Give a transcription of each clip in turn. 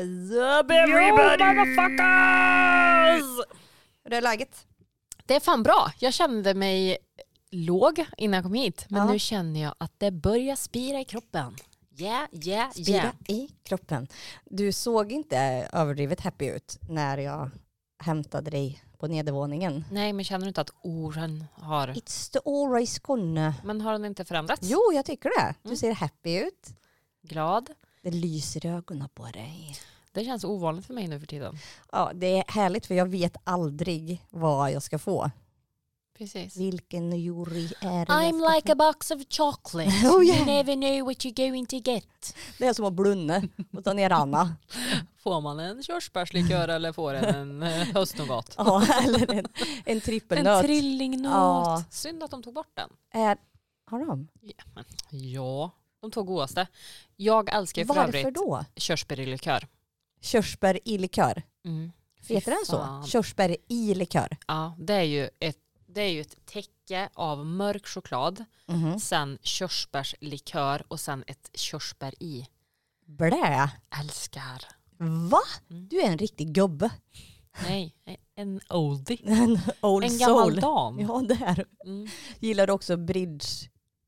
up everybody! Yo, motherfuckers! Hur är läget? Det är fan bra. Jag kände mig låg innan jag kom hit. Men Ja. nu känner jag att det börjar spira i kroppen. Yeah, yeah, Spira yeah. i kroppen. Du såg inte överdrivet happy ut när jag hämtade dig på nedervåningen. Nej, men känner du inte att orden har... It's the alright Skåne. Men har den inte förändrats? Jo, jag tycker det. Du Mm. ser happy ut. Glad? Det lyser i ögonen på dig. Det känns ovanligt för mig nu för tiden. Ja, det är härligt för jag vet aldrig vad jag ska få. Precis. Vilken jury är det jag ska I'm like a box of chocolate. Oh, You yeah. never know what you're going to get. Det är som att blunda och ta ner Anna. Får man en körsbärslikör eller får en eh, höstnougat? Ja, eller en, en trippelnöt. En trillingnot. Ja. Synd att de tog bort den. är, har de? Ja, de två godaste. Jag älskar ju för Varför övrigt då? körsbärslikör. Körsbär i likör. Mm. Fy Heter den fan. så? Körsbär i likör. Ja, det är ju ett, det är ju ett täcke av mörk choklad, Mhm. sen körsbärslikör och sen ett körsbär i. Blä! Älskar. Va? Mm. Du är en riktig gubbe. Nej, en oldie. En old En gammal soul. dam. Ja, det är. Mm. Gillar du också bridge?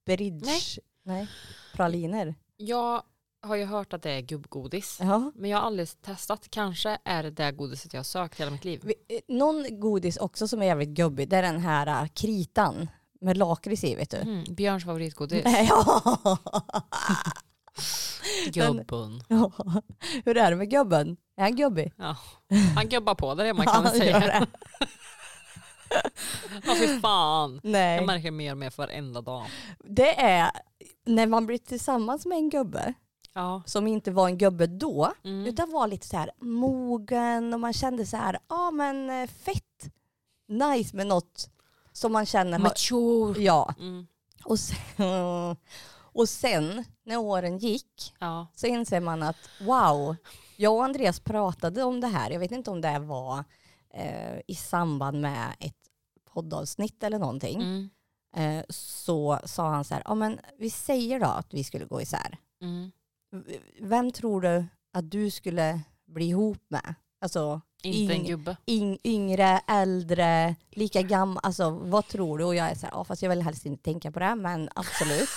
Bridge? Nej. Nej. Praliner? Jag har ju hört att det är gubbgodis. Ja. Men jag har aldrig testat. Kanske är det det godiset jag har sökt hela mitt liv. Vi- eh, Någon godis också som är jävligt gubbig, det är den här eh, kritan med lakrits i vet du. Mm, Björns favoritgodis. Ja. Gubben. Ja. Hur är det med gubben? Är han gubbig? Ja. Han gubbar på där hemma kan man Ja, gör säga. det. Ja, fy fan. Jag Nej. märker mer och mer för varenda dag. Det är när man blir tillsammans med en gubbe Ja. som inte var en gubbe då Mm. utan var lite så här mogen och man kände så här, ja ah, men eh, fett nice med något som man känner har, Mature. ja. Mm. Och sen, och sen när åren gick Ja. så inser man att wow, jag och Andreas pratade om det här. Jag vet inte om det var eh, i samband med ett poddavsnitt eller någonting. Mm. Eh, så sa han så här, ja men vi säger då att vi skulle gå isär. Mm. V- Vem tror du att du skulle bli ihop med? Alltså Inte en Ing- gubbe. yng- yngre, äldre, lika gammal, alltså vad tror du? Och jag är så här, ja fast jag vill helst inte tänka på det, men absolut.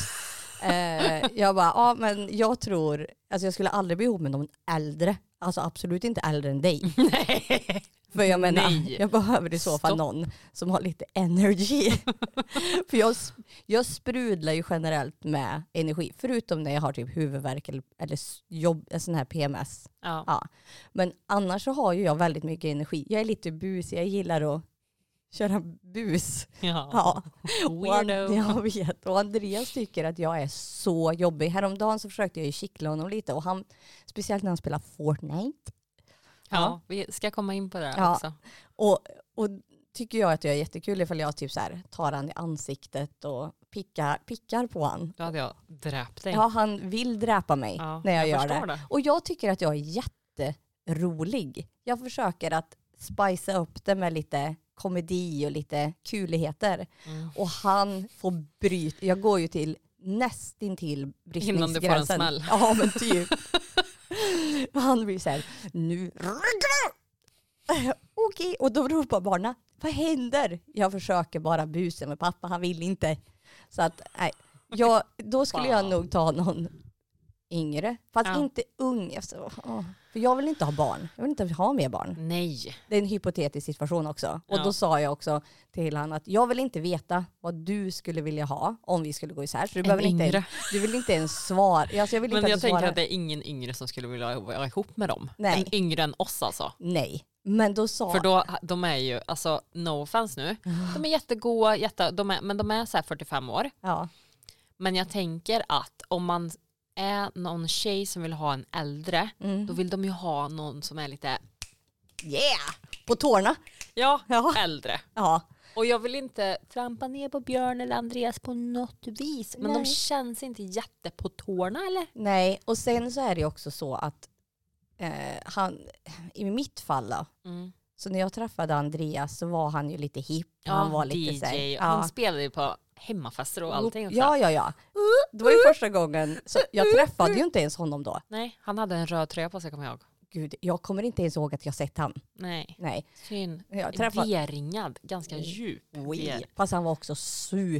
eh, jag bara, ja men jag tror, alltså jag skulle aldrig bli ihop med någon äldre, alltså absolut inte äldre än dig. Nej. För jag menar, Nej. jag behöver i så fall Stopp. någon som har lite energy. För jag, s- jag sprudlar ju generellt med energi, förutom när jag har typ huvudvärk eller, eller s- jobb, en sån här PMS. Ja. Ja. Men annars så har ju jag väldigt mycket energi. Jag är lite busig, jag gillar att köra bus. Ja. Ja. Och han- Weirdo. Jag vet. Och Andreas tycker att jag är så jobbig. Häromdagen så försökte jag ju kittla honom lite och han, speciellt när han spelar Fortnite. Ja. Vi ska komma in på det här Ja. också. Och, och tycker jag att jag är jättekul ifall jag typ så här tar han i ansiktet och pickar, pickar på han. Då hade jag dräpt dig. Ja, han vill dräpa mig Ja, när jag, gör det. förstår det. Och jag tycker att jag är jätterolig. Jag försöker att spicea upp det med lite komedi och lite kuligheter. Mm. Och han får bryta. Jag går ju till nästintill bristningsgränsen. Innan du får en smäll. Ja men typ. han blir så här, nu ryggar du! Okej, och då ropar barnen, vad händer? Jag försöker bara busa med pappa, han vill inte. Så att, nej. Jag, då skulle jag Fan. nog ta någon yngre. Fast Ja. inte ung. Alltså, åh. För jag vill inte ha barn. Jag vill inte ha mer barn. Nej. Det är en hypotetisk situation också. Och Ja. då sa jag också till han att jag vill inte veta vad du skulle vilja ha om vi skulle gå isär. Så du, En behöver inte, yngre. du vill inte ens svara. Alltså, jag vill Men inte jag att du tänker svarar. att det är ingen yngre som skulle vilja vara ihop med dem. Nej. En yngre än oss alltså. Nej. Men då sa För då, de är ju, alltså no offense nu, de är jättegoda, jätte, de är, men de är så här 45 år. ja. Men jag tänker att om man är någon tjej som vill ha en äldre, Mm. då vill de ju ha någon som är lite, Yeah! På tårna. ja, Ja. äldre. Ja. Och jag vill inte trampa ner på Björn eller Andreas på något vis, men de Nej. känns inte jätte på tårna eller? Nej, och sen så är det ju också så att eh, han, i mitt fall då, Mm. så när jag träffade Andreas så var han ju lite hipp. och han var lite DJ, så här- och han spelade ju på hemmafester och allting. också. Ja, ja, ja. Det var ju första gången. Så jag träffade ju inte ens honom då. Nej, han hade en röd tröja på sig kommer jag ihåg. gud, jag kommer inte ens ihåg att jag sett han. Nej, Mm. Nej. synd. Jag träffade, V-ringad, ganska djup. Oj. V. Fast han var också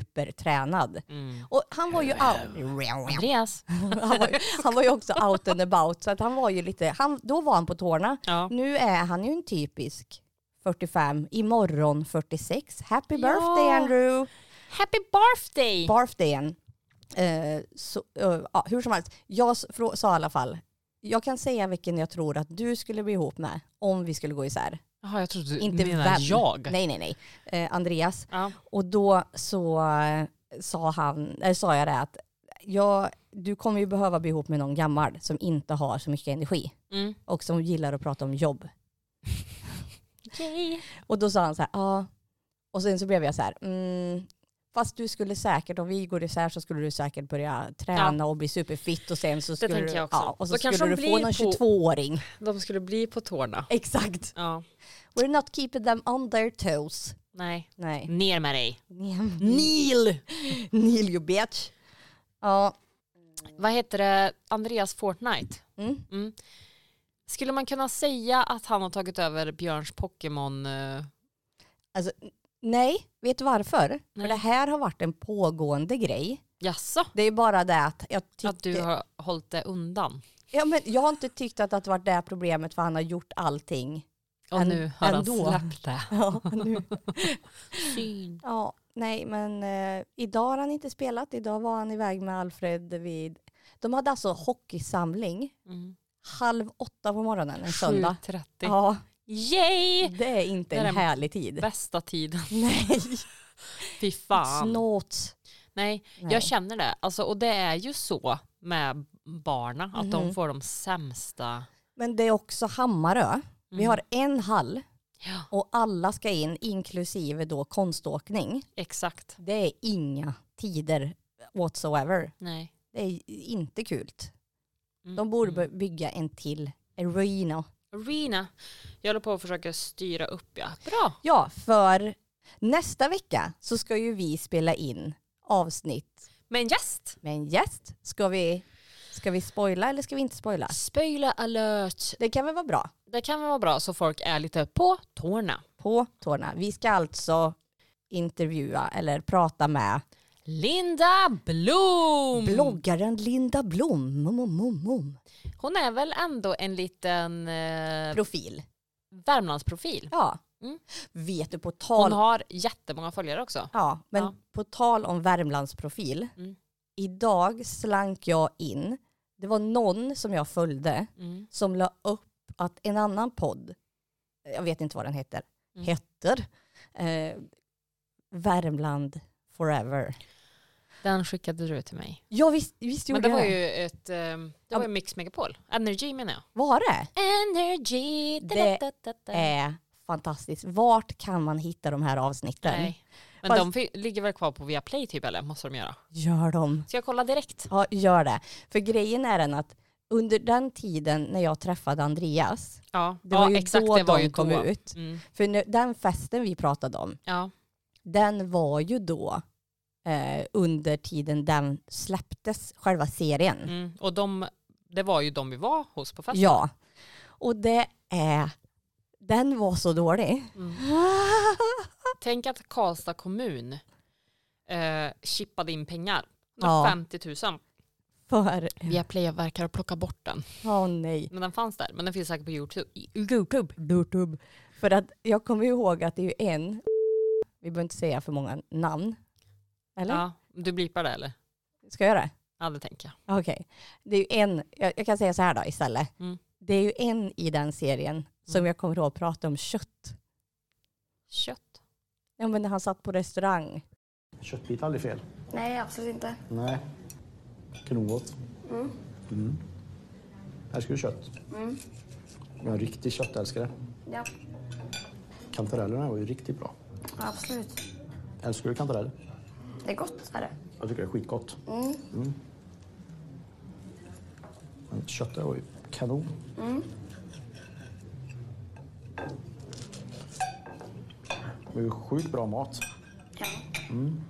supertränad. Mm. Och han var ju out, Andreas. han var, ju- han var ju också out and about. Så att han var ju lite, han, då var han på tårna. Ja. Nu är han ju en typisk 45, imorgon 46. Happy birthday Ja. Andrew! Happy birthday! Birthdayen. Eh, så, eh, ja, hur som helst, jag s- frå- sa i alla fall, jag kan säga vilken jag tror att du skulle bli ihop med om vi skulle gå isär. Jaha, jag trodde du Inte menade vem. jag. Nej nej nej, eh, Andreas. Ja. Och då så eh, sa, han, eller sa jag det att jag, du kommer ju behöva bli ihop med någon gammal som inte har så mycket energi Mm. och som gillar att prata om jobb. Okej. Och då sa han så här, ja. Och sen så blev jag så här, mm, fast du skulle säkert, om vi går isär så skulle du säkert börja träna och bli superfit och sen så skulle, tänker du, jag också. Ja, och så Då kanske skulle du de få blir någon på- 22-åring. De skulle bli på tårna. Exakt. Ja. We're not keeping them on their toes. Nej. Nej. Ner med dig. Neil! Neil you bitch. Ja. Vad heter det? Andreas Fortnite. Mm. Mm. Skulle man kunna säga att han har tagit över Björns Pokémon? eh, Alltså, nej, vet du varför? För Nej. det här har varit en pågående grej. Jaså? Det är bara det att jag tycker... Att du har hållit det undan? ja, men jag har inte tyckt att det har varit det problemet för han har gjort allting. Och Än- nu har ändå. han släppt det. Ja, nu. Syn. ja nej men eh, idag har han inte spelat. Idag var han iväg med Alfred vid... De hade alltså hockeysamling Mm. halv åtta på morgonen en söndag. 7.30. Ja, Mm. Yay! det är inte Det är en den härlig tid. Bästa tiden. Nej, Fy fan. snåt. Nej, Nej. jag känner det. Alltså, och det är ju så med barna att Mhm. de får de sämsta... Men det är också Hammarö. Vi har en hall Mm. Ja, och alla ska in inklusive då konståkning. exakt. Det är inga tider whatsoever. Nej. Det är inte kul. Mm. De borde by- bygga en till arena. Arena. Jag håller på att försöka styra upp. Ja. Bra. Ja, för nästa vecka så ska ju vi spela in avsnitt Men gäst! med en gäst. Ska vi, ska vi spoila eller ska vi inte spoila? Spöjla alert. Det kan väl vara bra. Det kan väl vara bra så folk är lite på tårna. På tårna. Vi ska alltså intervjua eller prata med Linda Blom! bloggaren Linda Blom. Mum, mum, mum, mum. Hon är väl ändå en liten eh, Profil. Värmlandsprofil. Ja. Mm. Vet du, på Hon tal, har jättemånga följare också. ja, men Ja. på tal om Värmlandsprofil. Mm. Idag slank jag in. Det var någon som jag följde Mm. som la upp att en annan podd, jag vet inte vad den heter, Mm. heter eh, Värmland Forever. Den skickade du till mig. Ja visst, visst Men gjorde det jag var det. ju ett eh, det var ju Mix Megapol. Energy menar jag. Var det? Energy! Da, Det da, da, da. Är fantastiskt. Vart kan man hitta de här avsnitten? Nej. Men Fast- de fi- ligger väl kvar på Viaplay typ eller? Måste de göra. Gör dem. Ska jag kolla direkt? Ja, gör det. För grejen är den att under den tiden när jag träffade Andreas, Ja, det ja var ju exakt. då det var de ju kom då. ut. Mm. För nu, den festen vi pratade om, Ja. den var ju då eh, under tiden den släpptes, själva serien. Mm. Och de, det var ju de vi var hos på festen. Ja. Och det är, den var så dålig. Mm. Tänk att Karlstad kommun eh, chippade in pengar. Ja. 150 000. För, Viaplay verkar ha plockat bort den. åh nej. Men den fanns där. Men den finns säkert på Youtube. Youtube. Youtube. För att jag kommer ihåg att det är ju en, vi behöver inte säga för många namn. Eller? Ja, du blipar det eller? Ska jag göra det? Ja det tänker jag. Okej. Det är ju en, jag, jag kan säga så här då istället. Mm. Det är ju en i den serien som Mm. jag kommer ihåg att prata om kött. Kött. Ja men när han satt på restaurang. Köttbit är aldrig fel. Nej, absolut inte. Nej. Kanongott. Mm. Älskar du kött? Jag är en riktig köttälskare. Ja, Kantarellerna var ju riktigt bra. absolut. Älskar du kantareller? Det är gott, är det. Jag tycker det är skitgott. Mm. Men köttet var ju kanon. Mm. Det var ju sjukt bra mat. Ja. Mm.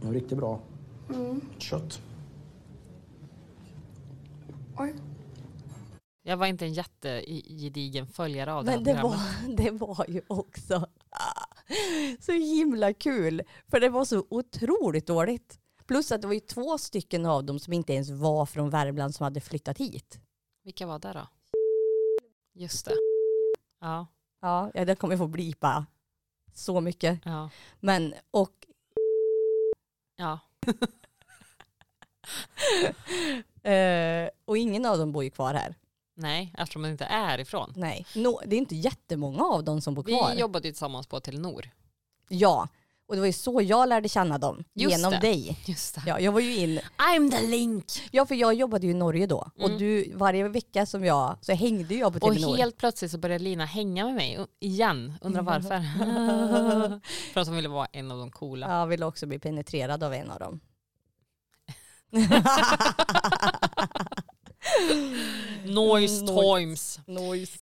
Det var riktigt bra kött. Oj. Jag var inte en jättegedigen följare av det här Men det programmet. var, det var ju också ah, så himla kul. För det var så otroligt dåligt. Plus att det var ju två stycken av dem som inte ens var från Värmland som hade flyttat hit. Vilka var det då? Just det. Ja, Ja, ja det kommer jag få blipa så mycket. ja, Men och ja. Eh, och ingen av dem bor ju kvar här. Nej, eftersom man inte är ifrån. Nej. Nå- det är inte jättemånga av dem som bor kvar. Vi jobbade ju tillsammans på Telenor. ja, och det var ju så jag lärde känna dem. Just genom det. dig. Just det. Ja, jag var ju in. I'm the link! Ja, för jag jobbade ju i Norge då. Mm. Och du, varje vecka som jag, så hängde jag på Och Telenor. helt plötsligt så började Lina hänga med mig igen. Undrar varför. För att hon ville vara en av de coola. Ja, ville också bli penetrerad av en av dem. Noise. Noise times. Noise.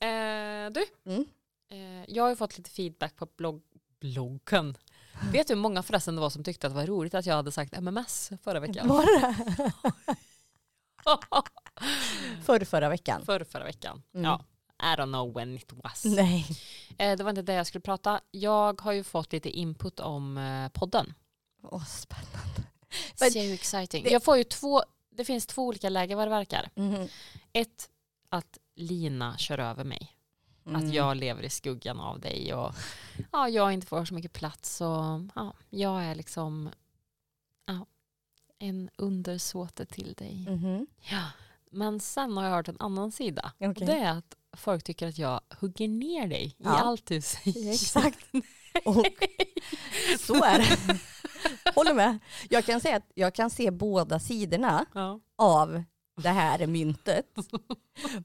Eh, du, Mm. eh, jag har ju fått lite feedback på blogg bloggen. Vet du hur många förresten det var som tyckte att det var roligt att jag hade sagt MMS förra veckan? Var det Förr, förra veckan? Förr, förra veckan. Mm. Ja. I don't know when it was. Nej. Eh, det var inte det jag skulle prata. Jag har ju fått lite input om eh, podden. Åh, spännande. Men- So exciting. det- Jag får ju två, det finns två olika läger vad det verkar. Mhm. Ett, att Lina kör över mig. Att Mm. jag lever i skuggan av dig och ja, jag inte får så mycket plats. Och, ja, jag är liksom ja, en undersåte till dig. Mhm. Ja. Men sen har jag hört en annan sida. Okej. Det är att folk tycker att jag hugger ner dig Ja. i allt du säger. Exakt. Och så är det. Håller med. Jag kan säga att jag kan se båda sidorna Ja. av det här myntet.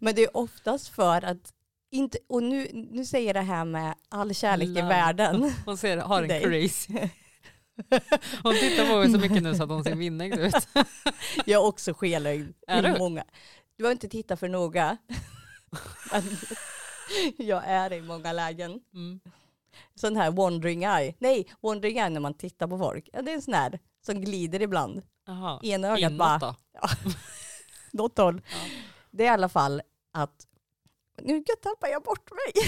Men det är oftast för att inte, och nu, nu säger jag det här med all kärlek i Love. världen. Hon ser, har en Dig. crazy. Hon tittar på mig så mycket nu så att hon ser vinnägd ut. Jag är också skelögd. Är Hur du? Många. Du har inte tittat för noga. Men jag är i många lägen. Mm. Sån här wandering eye. Nej, wandering eye när man tittar på folk. Ja, det är en sån här som glider ibland. Jaha. Ena ögat bara Inåt då? något håll. Det är i alla fall att nu tappar jag bort mig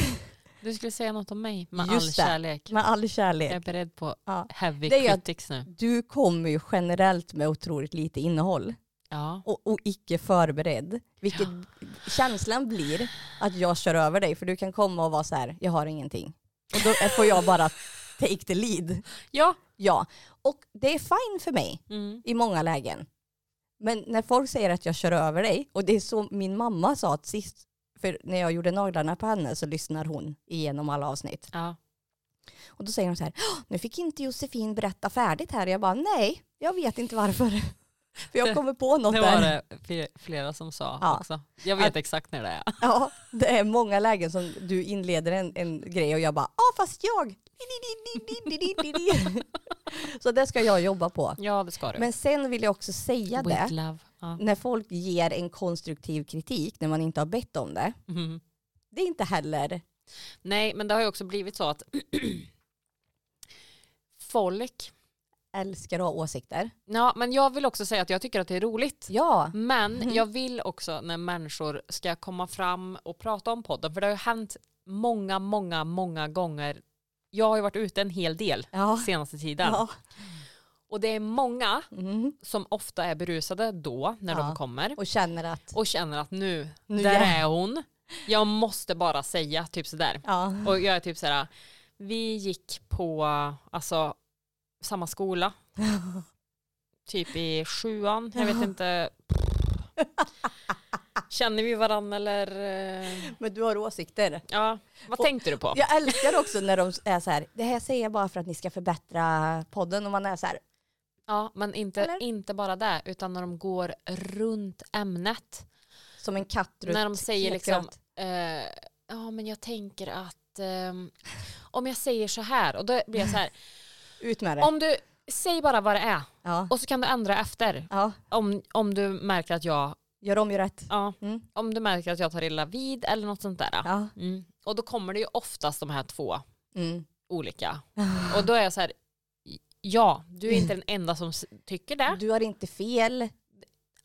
Du skulle säga något om mig med Just all det. kärlek. med all Jag är kärlek. beredd på Ja. heavy Det är att- critics nu. Du kommer ju generellt med otroligt lite innehåll Ja. och, och icke förberedd. Vilket känslan blir att jag kör över dig för du kan komma och vara så här, jag har ingenting. Och då får jag bara take the lead. Ja. Ja, och det är fine för mig Mm. i många lägen. Men när folk säger att jag kör över dig, och det är så min mamma sa att sist, för när jag gjorde naglarna på henne så lyssnar hon igenom alla avsnitt. ja. Och då säger hon så här, "Åh, nu fick inte Josefin berätta färdigt här. Jag bara, nej, jag vet inte varför. För jag kommer på något Det där. var det fle- flera som sa Ja. också. Jag vet exakt när det är. Ja, det är många lägen som du inleder en, en grej och jag bara, ja fast jag. Så det ska jag jobba på. Ja det ska du. Men sen vill jag också säga With det, Mm. love. Ja. när folk ger en konstruktiv kritik när man inte har bett om det, Mhm. det är inte heller, Nej men det har ju också blivit så att folk, älskar att ha åsikter. ja men jag vill också säga att jag tycker att det är roligt. Ja, Mhm. Men jag vill också när människor ska komma fram och prata om podden, för det har ju hänt många, många, många gånger. Jag har ju varit ute en hel del Ja. senaste tiden. ja. Och det är många Mm. som ofta är berusade då när Ja. de kommer och känner att, och känner att nu, Nu där jä- är hon. Jag måste bara säga typ sådär. ja, Och jag är typ såhär, vi gick på alltså, samma skola. typ i sjuan, jag vet inte. Känner vi varandra eller? eh, men du har åsikter. Ja, vad Och- tänkte du på? Jag älskar också när de är så här, det här säger jag bara för att ni ska förbättra podden och man är så här, Ja, men inte, Eller? inte bara det, utan när de går runt ämnet. som en katt runt När de säger het liksom, gröt. eh, ja men jag tänker att ehm, om jag säger så här och då blir jag så här, Ut med det. om du, säg bara vad det är ja. och så kan du ändra efter ja, om, om du märker att jag, gör om, gör rätt. ja, Mm. om du märker att jag tar illa vid eller något sånt där. Ja. Mm. och då kommer det ju oftast de här två Mm. olika. Och då är jag så här, ja, du är inte den enda som s- tycker det. Du har inte fel.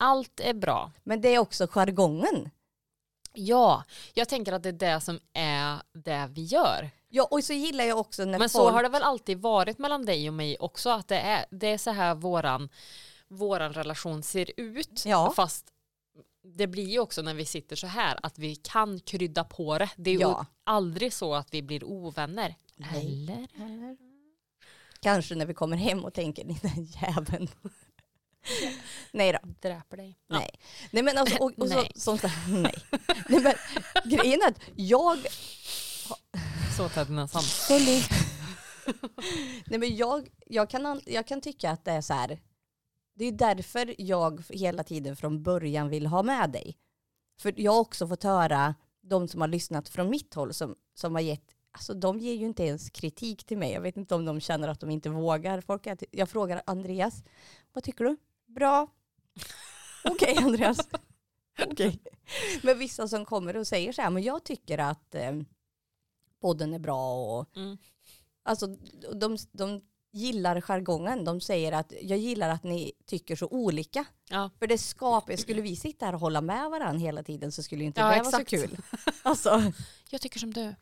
Allt är bra. Men det är också jargongen. Ja, jag tänker att det är det som är det vi gör. Ja, och så gillar jag också när Men folk... så har det väl alltid varit mellan dig och mig också, att det är, det är så här våran, våran relation ser ut. Ja. Fast det blir ju också när vi sitter så här att vi kan krydda på det. Det är ju Ja. aldrig så att vi blir ovänner. Nej. Eller? Kanske när vi kommer hem och tänker, den där jäveln. Nej då. Dräper dig. Nej. Nej men alltså, och, och så, Nej. sånt där, nej. nej men, grejen är att jag, Så tät näsan. nej men jag, jag, kan, an- jag kan tycka att det är så här, det är därför jag hela tiden från början vill ha med dig. För jag har också fått höra de som har lyssnat från mitt håll som, som har gett, alltså de ger ju inte ens kritik till mig. Jag vet inte om de känner att de inte vågar. Folk är, jag frågar Andreas, vad tycker du? Bra. Okej Andreas. Okej. Men vissa som kommer och säger så här, men jag tycker att eh, podden är bra och Mm. alltså de, de gillar jargongen. De säger att jag gillar att ni tycker så olika. Ja. För det skapar, skulle vi sitta här och hålla med varandra hela tiden så skulle ju inte Ja, det vara så exakt. kul. Alltså, Jag tycker som du.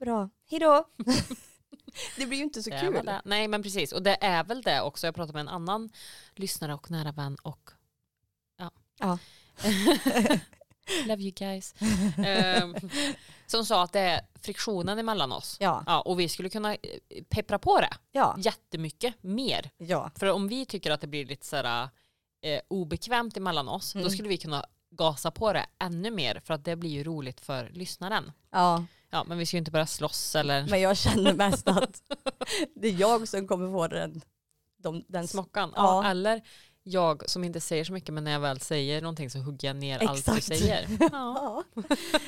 bra. Hejdå! det blir ju inte så Det var kul. det. Nej men precis, och det är väl det också. Jag pratade med en annan lyssnare och nära vän och ja. Ja. Love you guys. Ehm, som sa att det är friktionen emellan oss. Ja, Ja, och vi skulle kunna eh, peppra på det ja, jättemycket mer. ja. För om vi tycker att det blir lite sådär, eh, obekvämt emellan oss, Mm. då skulle vi kunna gasa på det ännu mer för att det blir ju roligt för lyssnaren. ja. Ja, men vi ska ju inte börja slåss eller Men jag känner mest att det är jag som kommer få den, de, den smockan. Ja. Ja. Eller jag som inte säger så mycket men när jag väl säger någonting så hugger jag ner allt Exakt. du säger. Ja. Ja,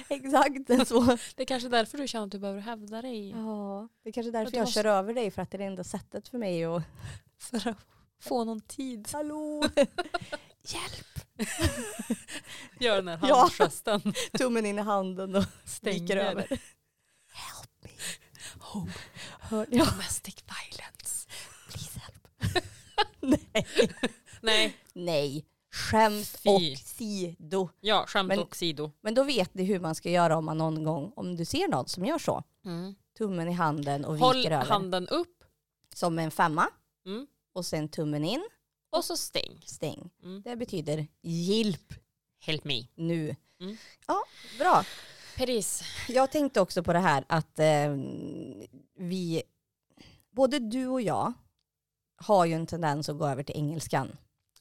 exakt. Så. Det är kanske därför du känner att du behöver hävda dig. Ja, det är kanske är Att därför du jag måste- kör över dig för att det är det enda sättet för mig att... För att Få någon tid. hallå! Hjälp! Gör den här Ja. handgesten. Tummen in i handen och Stänger. sticker över. Home. Hör, ja, Domestic violence. please help. Nej. Nej, Nej, skämt Fy. och sido. ja, skämt Men- och sido. Men då vet ni hur man ska göra om man någon gång, om du ser någon som gör så. Tummen i handen och Håll Mm. viker över. handen upp Som en femma. Mm. Och sen tummen in, och så stäng. stäng. Mm. Det betyder hjälp Help me. nu. Mm. Ja, bra. Paris. Jag tänkte också på det här att eh, vi, både du och jag har ju en tendens att gå över till engelskan.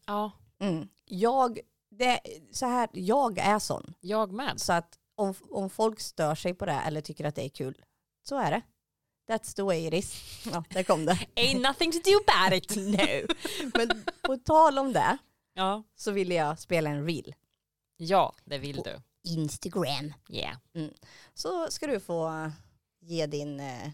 Ja, Mm. Jag, det, så här, jag är sån. jag med. Så att om, om folk stör sig på det eller tycker att det är kul, så är det. That's the way it is. Ja, där kom det. Ain't nothing to do about it. no. Men på tal om det Ja. så ville jag spela en reel. ja, det vill Oh. du. Instagram. Yeah. Så ska du få ge din eh,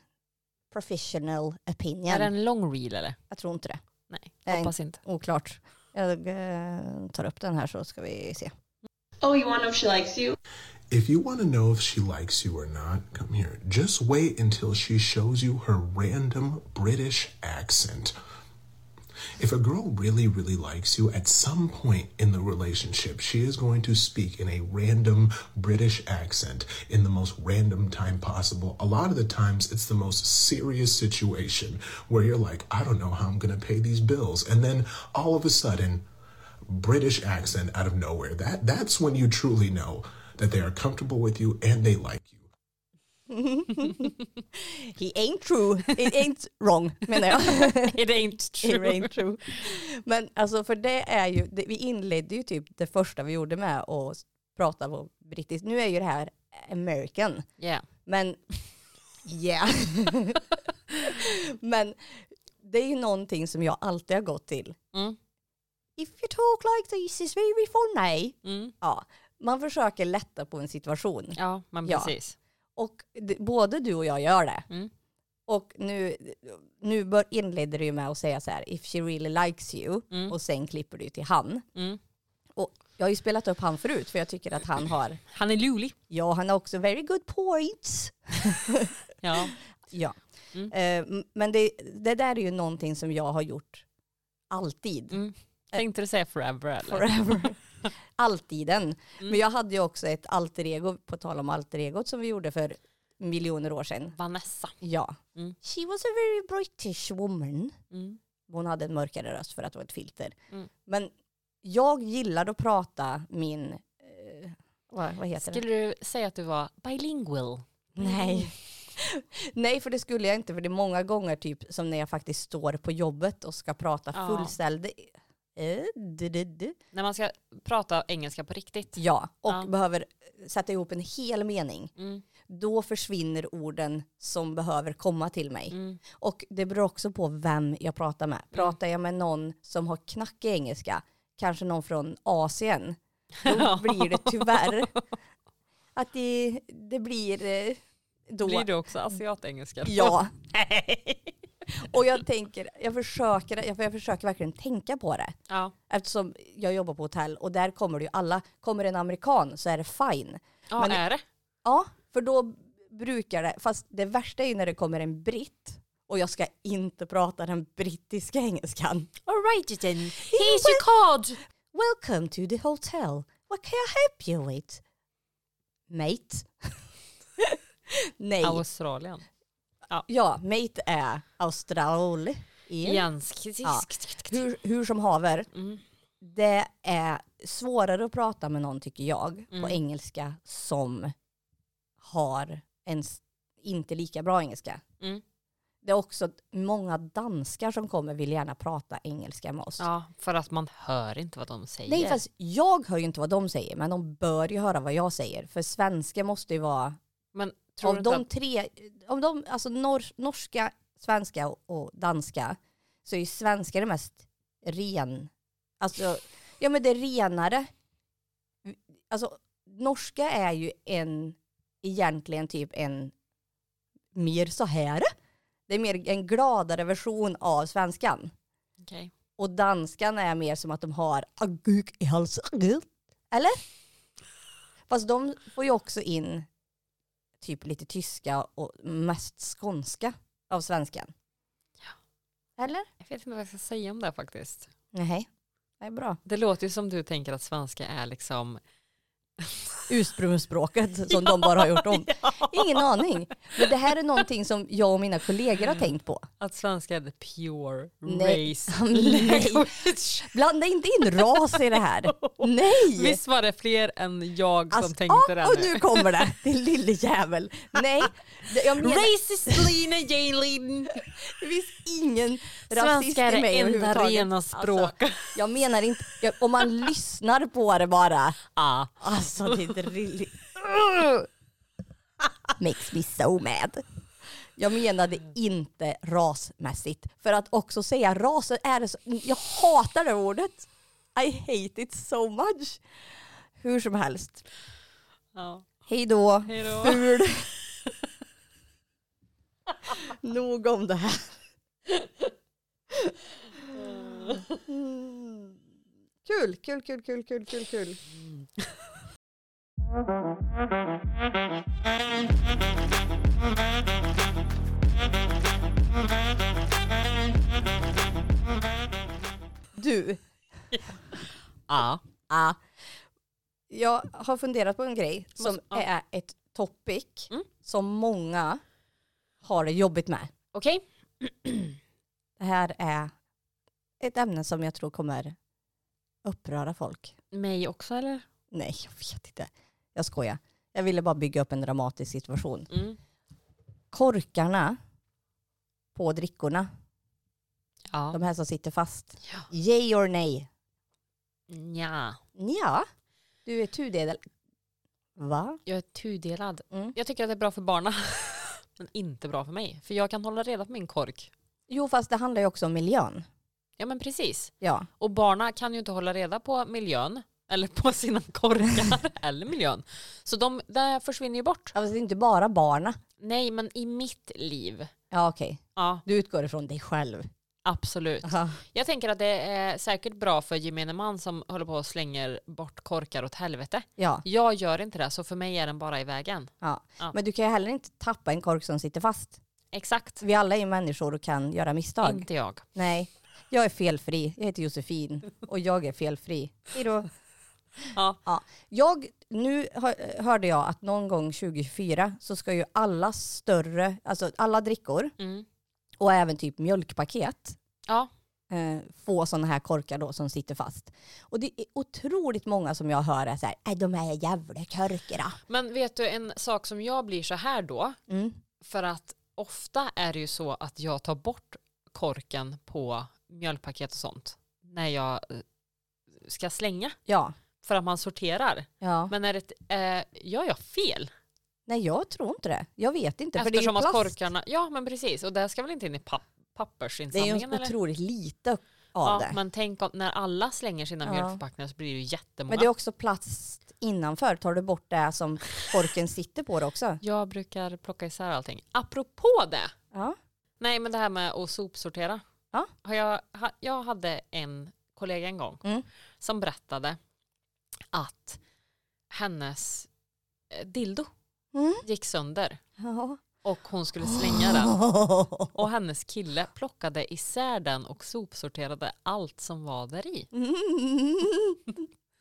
professional opinion. Är det en long reel eller? Jag tror inte det. Nej, Nej. hoppas inte. Oklart. Jag eh, tar upp den här så ska vi se. Oh, you want to know if she likes you? If you want to know if she likes you or not, come here. Just wait until she shows you her random British accent. If a girl really, really likes you, at some point in the relationship, she is going to speak in a random British accent in the most random time possible. A lot of the times, it's the most serious situation where you're like, I don't know how I'm going to pay these bills. And then all of a sudden, British accent out of nowhere. That that's when you truly know that they are comfortable with you and they like you. He ain't true, it ain't wrong menar jag. It ain't It true. ain't true. Men alltså för det är ju, det, vi inledde ju typ det första vi gjorde med att prata på brittiskt. Nu är ju det här American, Yeah. men yeah. men det är ju någonting som jag alltid har gått till. Mm. If you talk like this is very for me. Mm. Ja, man försöker lätta på en situation. Ja, men Ja. precis. Och det, både du och jag gör det. Mm. Och nu, nu bör, inleder du ju med att säga så här, if she really likes you, Mm. och sen klipper du till han. Mm. Och Jag har ju spelat upp han förut för jag tycker att han har, Han är lulig. ja han har också very good points. Ja. Ja. Mm. Eh, m- men det, det där är ju någonting som jag har gjort alltid. Mm. Tänkte du säga forever Mm. eller? Forever. Alltiden. Men jag hade ju också ett alter ego, på tal om alter egot som vi gjorde för miljoner år sedan. Vanessa. Ja. Mm. She was a very British woman. Mm. Hon hade en mörkare röst för att det var ett filter. Mm. Men jag gillade att prata min, eh, vad, vad heter det? Skulle du säga att du var bilingual? Nej. Nej för det skulle jag inte för det är många gånger typ som när jag faktiskt står på jobbet och ska prata Ja. fullställd. eh, du, du, du. När man ska prata engelska på riktigt? Ja, och Ja. behöver sätta ihop en hel mening. Mm. Då försvinner orden som behöver komma till mig. Mm. Och det beror också på vem jag pratar med. Pratar jag med någon som har knackig engelska, kanske någon från Asien, då blir det tyvärr att det, det blir eh, då. Blir du också asiatengelska? Ja. Och jag tänker, jag försöker, jag, jag försöker verkligen tänka på det. Ja. Eftersom jag jobbar på hotell och där kommer det ju alla, kommer en amerikan så är det fine. ja Men- är det? Ja, för då brukar det, fast det värsta är ju när det kommer en britt och jag ska inte prata den brittiska engelskan. Alright then, here's your card! Welcome to the hotel. What can I help you with? Mate. Nej. Australien. ja, mate är australi. Jansk. Ja. Hur, hur som haver, Mm. det är svårare att prata med någon tycker jag Mm. på engelska som har en s- inte lika bra engelska. Mm. Det är också att många danskar som kommer vill gärna prata engelska med oss. Ja, för att man hör inte vad de säger. Nej fast jag hör ju inte vad de säger men de bör ju höra vad jag säger för svenska måste ju vara, Men tror av du inte de att... tre, om de, alltså nor, norska, svenska och, och danska så är ju svenska det mest ren, alltså ja men det är renare. Alltså norska är ju en, egentligen typ en mer så här. Det är mer en gladare version av svenskan. Okej. Och danskan är mer som att de har aguk i halsen. Eller? Fast de får ju också in typ lite tyska och mest skånska av svenskan. Eller? Jag vet inte vad jag ska säga om det här faktiskt. Nej. Det är bra. Det låter ju som du tänker att svenska är liksom... Ursprungsspråket som de bara har gjort om. Ingen aning. Men det här är någonting som jag och mina kollegor har tänkt på. Att svenska är the pure Nej. race Nej. language. Blanda inte in ras i det här. Nej! Visst var det fler än jag som Alltså, tänkte ah, det och nu? nu kommer det, din lille jävel. Nej, det- jag menar, Racist Lina Jalin! Det finns ingen rasist Svenska är i det mig enda överhuvudtaget. rena språket. Alltså, jag menar inte, jag, om man lyssnar på det bara. ah. Alltså det är really... Makes me so mad. Jag menade inte rasmässigt. För att också säga ras, så är det så, jag hatar det ordet. I hate it so much. Hur som helst. ja. Hej då. Hej då. Ful. Nog om det här. Mm. Kul, kul, kul, kul, kul, kul, kul. Du, Ah. Ah. Jag har funderat på en grej som ja. är ett topic Mm. som många har det jobbigt med. Okej. Det här är ett ämne som jag tror kommer uppröra folk. Mig också eller? Nej, jag vet inte. Jag skojar. Jag ville bara bygga upp en dramatisk situation. Mm. Korkarna på drickorna, Ja. de här som sitter fast. Ja. Yay or nej? Nja. Ja, du är tudelad. Va? Jag är tudelad. Mm. Jag tycker att det är bra för barna. Men inte bra för mig. För jag kan hålla reda på min kork. Jo, fast det handlar ju också om miljön. Ja men precis. Ja. Och barna kan ju inte hålla reda på miljön. Eller på sina korkar. eller miljön. Så de där försvinner ju bort. Ja, fast Alltså, det är inte bara barna. Nej men i mitt liv. Ja okej, Ja. du utgår ifrån dig själv. Absolut. Aha. Jag tänker att det är säkert bra för gemene man som håller på och slänger bort korkar åt helvete. Ja, Jag gör inte det, så för mig är den bara i vägen. ja. Ja. Men du kan ju heller inte tappa en kork som sitter fast. Exakt. Vi alla är människor och kan göra misstag. Inte jag. Nej, jag är felfri. Jag heter Josefin och jag är felfri. Hejdå. Ja. Ja. Jag, nu hör- hörde jag att någon gång 2024 så ska ju alla större, alltså alla drickor Mm. och även typ mjölkpaket Ja. eh, få sådana här korkar då som sitter fast. Och det är otroligt många som jag hör är så här, "Äh, de här jävla korkarna. Men vet du en sak som jag blir så här då? Mm. För att ofta är det ju så att jag tar bort korken på mjölkpaket och sånt när jag eh, ska slänga Ja, för att man sorterar. ja. Men är det, eh, gör jag fel? Nej jag tror inte det. Jag vet inte. för det är ju Eftersom att plast. korkarna, ja men precis, och det här ska väl inte in i papp, Det är ju pappersinsamlingen eller? otroligt lite av Ja, det. men tänk om, när alla slänger sina Ja. mjölkförpackningar så blir det ju jättemånga. Men det är också plast innanför. Tar du bort det som korken sitter på det också? Jag brukar plocka isär allting. Apropå det, Ja. Nej, men det här med att sopsortera. Ja. Har jag, ha, jag hade en kollega en gång Mm. som berättade att hennes eh, dildo Mm. gick sönder ja. och hon skulle slänga den. Och hennes kille plockade isär den och sopsorterade allt som var där i. Mm.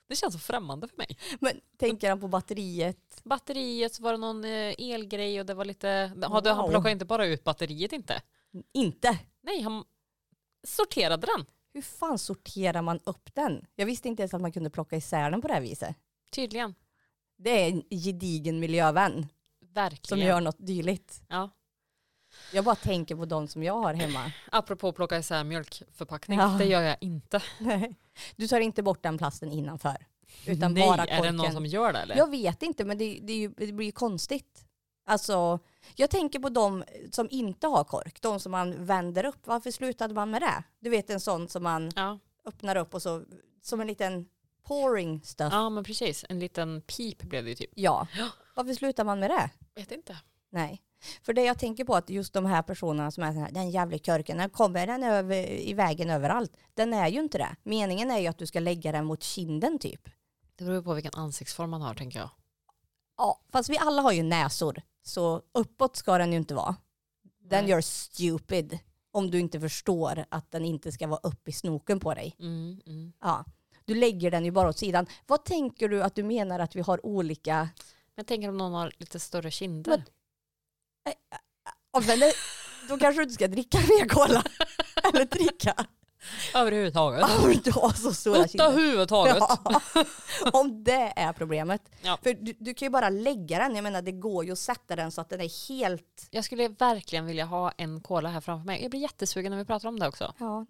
Det känns så främmande för mig. Men tänker han på batteriet? Batteriet så var det någon eh, elgrej och det var lite... Wow. Han Wow. plockade inte bara ut batteriet inte. Inte. Nej, han sorterade den. Hur fan sorterar man upp den? Jag visste inte ens att man kunde plocka isär den på det här viset. Tydligen. Det är en gedigen miljövän som Verkligen. gör något dyligt. Ja. Jag bara tänker på de som jag har hemma. Apropå att plocka isär mjölkförpackning, Ja. det gör jag inte. Nej. Du tar inte bort den plasten innanför? Utan Nej, bara är det någon korken. som gör det eller? Jag vet inte men det, det, är ju, det blir ju konstigt. Alltså, jag tänker på de som inte har kork, de som man vänder upp. Varför slutade man med det? Du vet en sån som man Ja. öppnar upp och så, som en liten pouring stuff. Ja. ja, men precis. En liten pip blev det ju typ. Varför slutar man med det? Vet inte. Nej. För det jag tänker på att just de här personerna som är så här, den jävla korken, den kommer den över, i vägen överallt. Den är ju inte det. Meningen är ju att du ska lägga den mot kinden typ. Det beror ju på vilken ansiktsform man har tänker jag. Ja, fast vi alla har ju näsor. Så uppåt ska den ju inte vara. Den Nej. gör stupid om du inte förstår att den inte ska vara upp i snoken på dig. Mm, mm. Ja. Du lägger den ju bara åt sidan. Vad tänker du att du menar att vi har olika... Men jag tänker om någon har lite större kinder. Men- Ja, men det- Då kanske du inte ska dricka mer cola. Eller dricka. Överhuvudtaget. Om du har så Ah, stora Utta kinder. huvudtaget. Ja. Om det är problemet. Ja. För du, du kan ju bara lägga den. Jag menar det går ju att sätta den så att den är helt... Jag skulle verkligen vilja ha en cola här framför mig. Jag blir jättesugen när vi pratar om det också. Ja.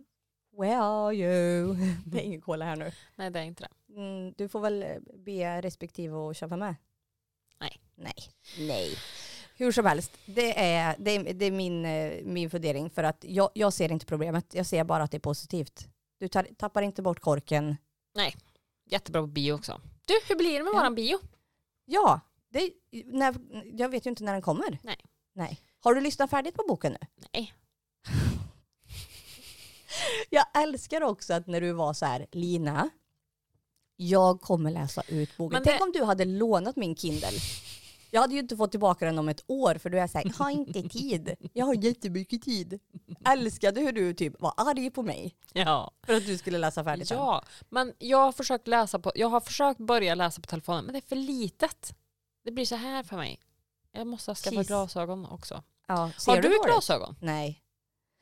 Well you. Det är ingen cola här nu. Nej, det är inte det. Mm, du får väl eh, be respektive att köpa med. Nej. Nej. Nej. Hur som helst, det är, det är, det är min, eh, min fundering för att jag, jag ser inte problemet. Jag ser bara att det är positivt. Du tar, tappar inte bort korken. Jättebra på bio också. Du, hur blir det med Ja. våran bio? Ja, det, när, jag vet ju inte när den kommer. Nej. Nej. Har du lyssnat färdigt på boken nu? Nej. Jag älskar också att när du var så här, Lina, jag kommer läsa ut boken. Men Tänk det- om du hade lånat min Kindle. Jag hade ju inte fått tillbaka den om ett år för du är såhär, jag har inte tid. Jag har jättemycket tid. Älskade hur du typ var arg på mig Ja. för att du skulle läsa färdigt den. Ja, men jag har försökt läsa på, jag har försökt börja läsa på telefonen, men det är för litet. Det blir så här för mig. Jag måste skaffa Precis. glasögon också. Ja, ser har du dåligt? glasögon? Nej.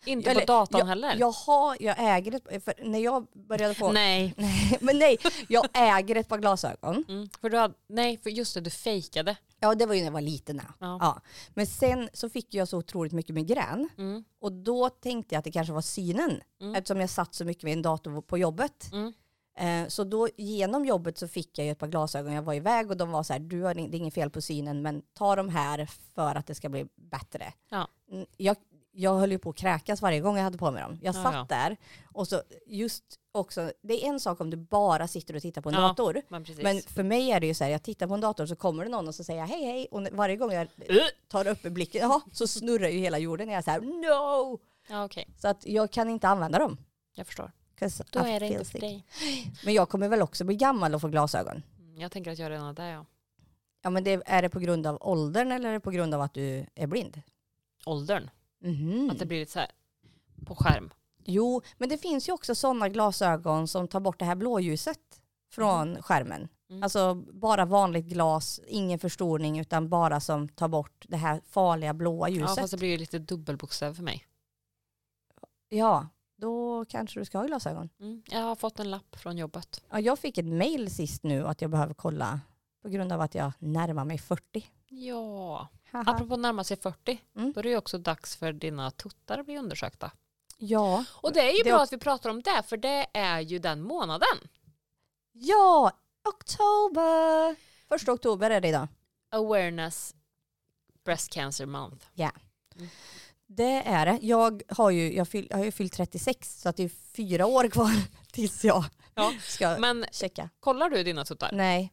Inte Eller, på datorn jag, heller? Jag, har, jag äger ett, för när jag började få... Nej. Nej, men nej, jag äger ett par glasögon. Mm, för du hade, nej, för just det, du fejkade. Ja, det var ju när jag var liten. Ja. Ja. Ja. Men sen så fick jag så otroligt mycket migrän Mm. och då tänkte jag att det kanske var synen Mm. eftersom jag satt så mycket vid en dator på jobbet. Mm. Eh, Så då genom jobbet så fick jag ju ett par glasögon. Jag var iväg och de var så här, du har ing- det är inget fel på synen men ta de här för att det ska bli bättre. Ja. Mm, Jag, jag höll ju på att kräkas varje gång jag hade på mig dem. Jag Ja, satt ja. där och så just också, det är en sak om du bara sitter och tittar på en Ja. dator. Men precis. Men för mig är det ju så här, jag tittar på en dator så kommer det någon och så säger jag hej hej och varje gång jag tar upp blicken ja, så snurrar ju hela jorden. Jag är så här no! Ja, okej. Så att jag kan inte använda dem. Jag förstår. 'Cause Då I är det feel inte sick. för dig. Men jag kommer väl också bli gammal och få glasögon. Mm, Jag tänker att jag redan är där, ja. Ja men det, är det på grund av åldern eller är det på grund av att du är blind? Åldern. Mhm. Att det blir lite så här på skärm. Jo, men det finns ju också sådana glasögon som tar bort det här blåljuset från skärmen. Mm. Alltså bara vanligt glas, ingen förstoring utan bara som tar bort det här farliga blåa Ja, ljuset. Ja, fast det blir ju lite dubbelbokstäv för mig. då kanske du ska ha glasögon. Mm. Jag har fått en lapp från jobbet. Ja, jag fick ett mail sist nu att jag behöver kolla på grund av att jag närmar mig 40. Ja. Haha. Apropå att närma sig 40, Mm. då är det ju också dags för dina tuttar att bli undersökta. Ja. Och det är ju Det är bra ock- att vi pratar om det, för det är ju den månaden. ja, oktober! Första oktober är det idag. Awareness Breast Cancer Month. Det är det. Jag har ju, jag fyll, jag har ju fyllt 36 så att det är fyra år kvar tills jag Ja, ska Men checka. kollar du dina tuttar? Nej.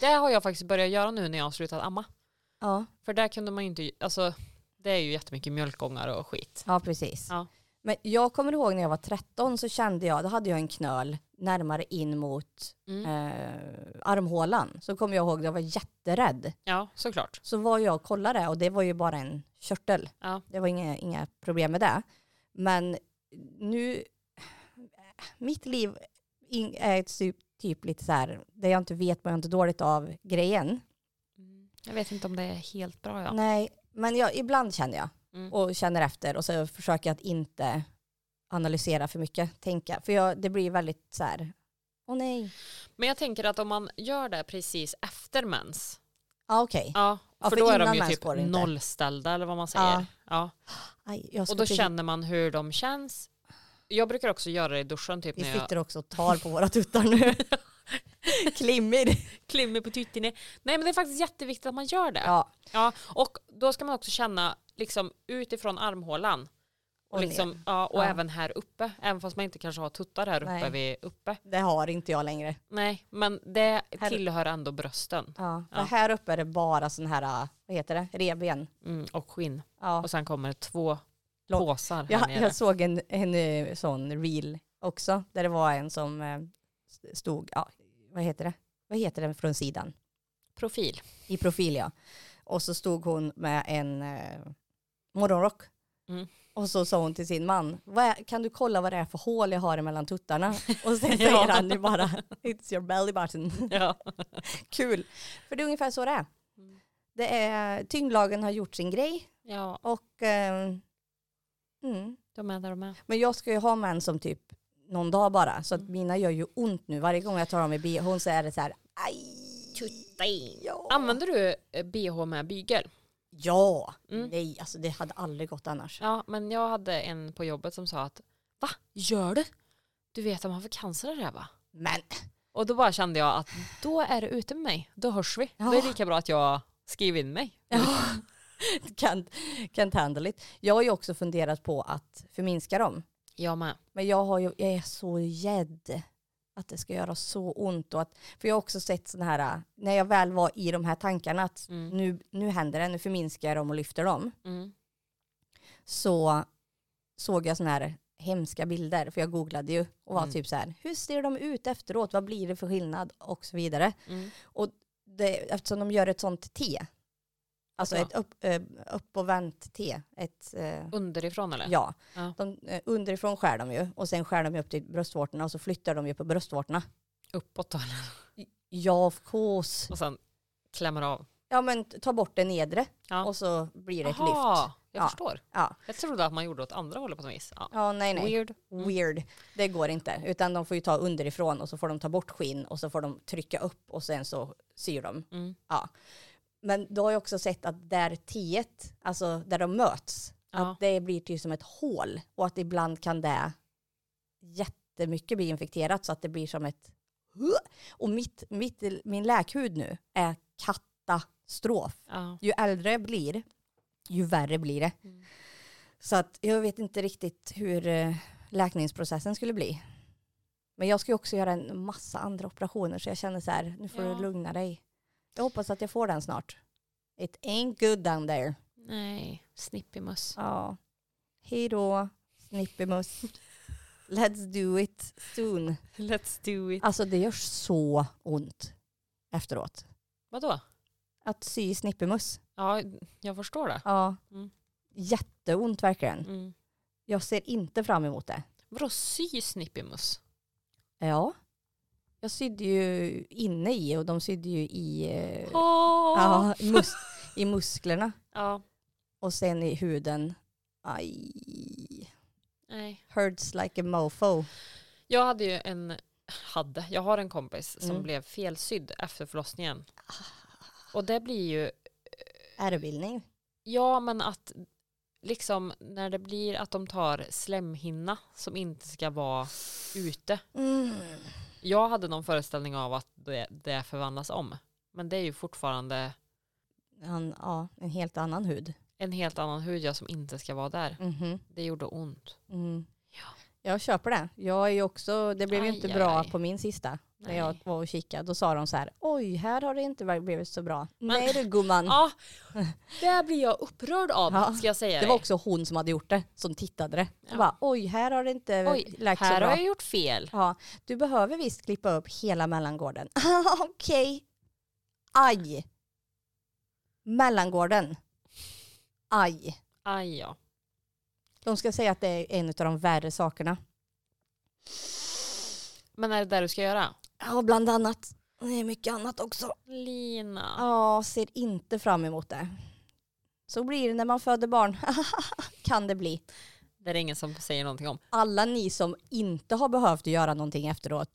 Det har jag faktiskt börjat göra nu när jag har slutat amma. Ja, För där kunde man ju inte, alltså det är ju jättemycket mjölkgångar och skit. ja precis. Ja. Men jag kommer ihåg när jag var 13 så kände jag, då hade jag en knöl närmare in mot Mm. eh, armhålan. Så kommer jag ihåg att jag var jätterädd. Ja, såklart. Så var jag och kollade och det var ju bara en körtel. Ja. Det var inga, inga problem med det. Men nu, mitt liv in- är ett typ, typ lite så här, där jag inte vet vad jag inte dåligt av grejen. Mm. Jag vet inte om det är helt bra. Ja. Nej, men jag, ibland känner jag Mm. och känner efter och så försöker jag att inte analysera för mycket, tänka. För jag, det blir väldigt så här, åh nej. Men jag tänker att om man gör det precis efter mens, Ja okej. ja, Ja, för för då är de innan ju mens typ går det inte. nollställda eller vad man Ja. säger. Ja. Aj, jag Och då sitter- känner man hur de känns. Jag brukar också göra det i duschen typ Vi när jag sitter också och tar på våra tuttar nu. Klimmig. klämmer på tuttarna. Nej men det är faktiskt jätteviktigt att man gör det. Ja. Ja, och då ska man också känna liksom utifrån armhålan. Och, Och ner. liksom, ja, och Ja. även här uppe. Även fast man inte kanske har tuttar här uppe. Nej. Vid, uppe. Det har inte jag längre. Nej, men det Här- tillhör ändå brösten Ja. Ja. Här uppe är det bara sån här, äh, vad heter det, revben. mm, och skinn. Ja. Och sen kommer det två Lång- påsar här Jag, nere. jag såg en, en eh, sån reel också, där det var en som eh, st- stod, ja, vad heter det, vad heter den från sidan? Profil. I profil ja. Och så stod hon med en eh, morgonrock. Mm. Och så sa hon till sin man, vad är, kan du kolla vad det är för hål jag har mellan tuttarna? Och sen Ja. säger han ju bara, it's your belly button. Ja. Kul. För det är ungefär så det är. Mm. Det är tyngdlagen har gjort sin grej ja, och eh, mm. de är där de är. Men jag ska ju ha män som typ någon dag bara. Så att Mm. mina gör ju ont nu. Varje gång jag tar dem i bhn så är det så här, aj. Ja. Använder du eh, bh med bygel? Ja. Mm. Nej, alltså det hade aldrig gått annars. Ja, men jag hade en på jobbet som sa att va, gör du? Du vet att man får cancer av det här va? Men Och då bara kände jag att då är det ute med mig. Då hörs vi. Då är det Ja. lika bra att jag skriver in mig. can't, can't handle it. Jag har ju också funderat på att förminska dem. Jag med. Men jag, har ju, jag är så rädd att det ska göra så ont. Och att, för jag har också sett sådana här, när jag väl var i de här tankarna att Mm. nu, nu händer det, nu förminskar jag dem och lyfter dem. Mm. Så såg jag sådana här hemska bilder, för jag googlade ju och var Mm. typ så här, hur ser de ut efteråt, vad blir det för skillnad och så vidare. Mm. Och det, eftersom de gör ett sånt te, alltså Ja. ett upp, eh, upp och vänt te, ett eh, Underifrån eller? Ja, Ja. De, eh, underifrån skär de ju och sen skär de ju upp till bröstvårtorna och så flyttar de ju på bröstvårtorna. Uppåt då, eller? Ja, of course. Och sen klämmer av. Ja men ta bort det nedre Ja. och så blir det ett Aha, lyft. jag Ja. förstår. Ja, Jag trodde att man gjorde åt andra hållet på något vis. Ja. ja nej nej. Weird. Weird. Det går inte. Utan de får ju ta underifrån och så får de ta bort skinn och så får de trycka upp och sen så syr de. Mm. Ja. Men då har jag också sett att där teet, alltså där de möts, Ja. att det blir till som ett hål och att ibland kan det jättemycket bli infekterat så att det blir som ett och mitt, mitt, min läkhud nu är katastrof. Ja. Ju äldre jag blir, ju värre blir det. Mm. Så att jag vet inte riktigt hur eh, läkningsprocessen skulle bli. Men jag ska ju också göra en massa andra operationer så jag känner så här, nu får Ja. du lugna dig. Jag hoppas att jag får den snart. It ain't good down there. Nej, snippig möss. Ja. Hej då. Snippimus. Let's do it soon. Let's do it. Alltså det gör så ont efteråt. Vadå? Att sy snippimus. Ja, jag förstår det. Ja. Mm. Jätteont verkligen. Mm. Jag ser inte fram emot det. Vadå sy snippimus? Ja. Jag sydde ju inne i och de sydde ju i, eh, Åh! ja, i, mus- i musklerna. Ja. Och sen i huden. Aj. Nej. Hurts like a mofo. Jag hade ju en, hade, jag har en kompis som Mm. blev felsydd efter förlossningen. Och det blir ju, Ärrbildning. ja men att liksom när det blir att de tar slemhinna som inte ska vara ute. Mm. Jag hade någon föreställning av att det, det förvandlas om. Men det är ju fortfarande Han, ja, en helt annan hud. en helt annan hud jag som inte ska vara där. Mhm. Det gjorde ont. Mm. Ja. Jag köper det. Jag är ju också, det blev ju Aj, inte aj, bra aj. på min sista. När Nej. jag var och kikade, då sa de så här, oj här har det inte varit- blivit så bra. Nej du gumman. Ja, där blir jag upprörd av Mm. Ja. ska jag säga Det var dig. också hon som hade gjort det, som tittade det. Ja. Och bara, oj här har det inte Oj, lagt så här har bra. jag gjort fel. Ja, du behöver visst klippa upp hela mellangården. Okej. Aj. Mellangården. Aj. Aj ja. De ska säga att det är en av de värre sakerna. Men är det där du ska göra? Ja, bland annat. Det är mycket annat också. Lina. Ja, ser inte fram emot det. Så blir det när man föder barn. kan det bli. Det är det ingen som säger någonting om. Alla ni som inte har behövt göra någonting efteråt.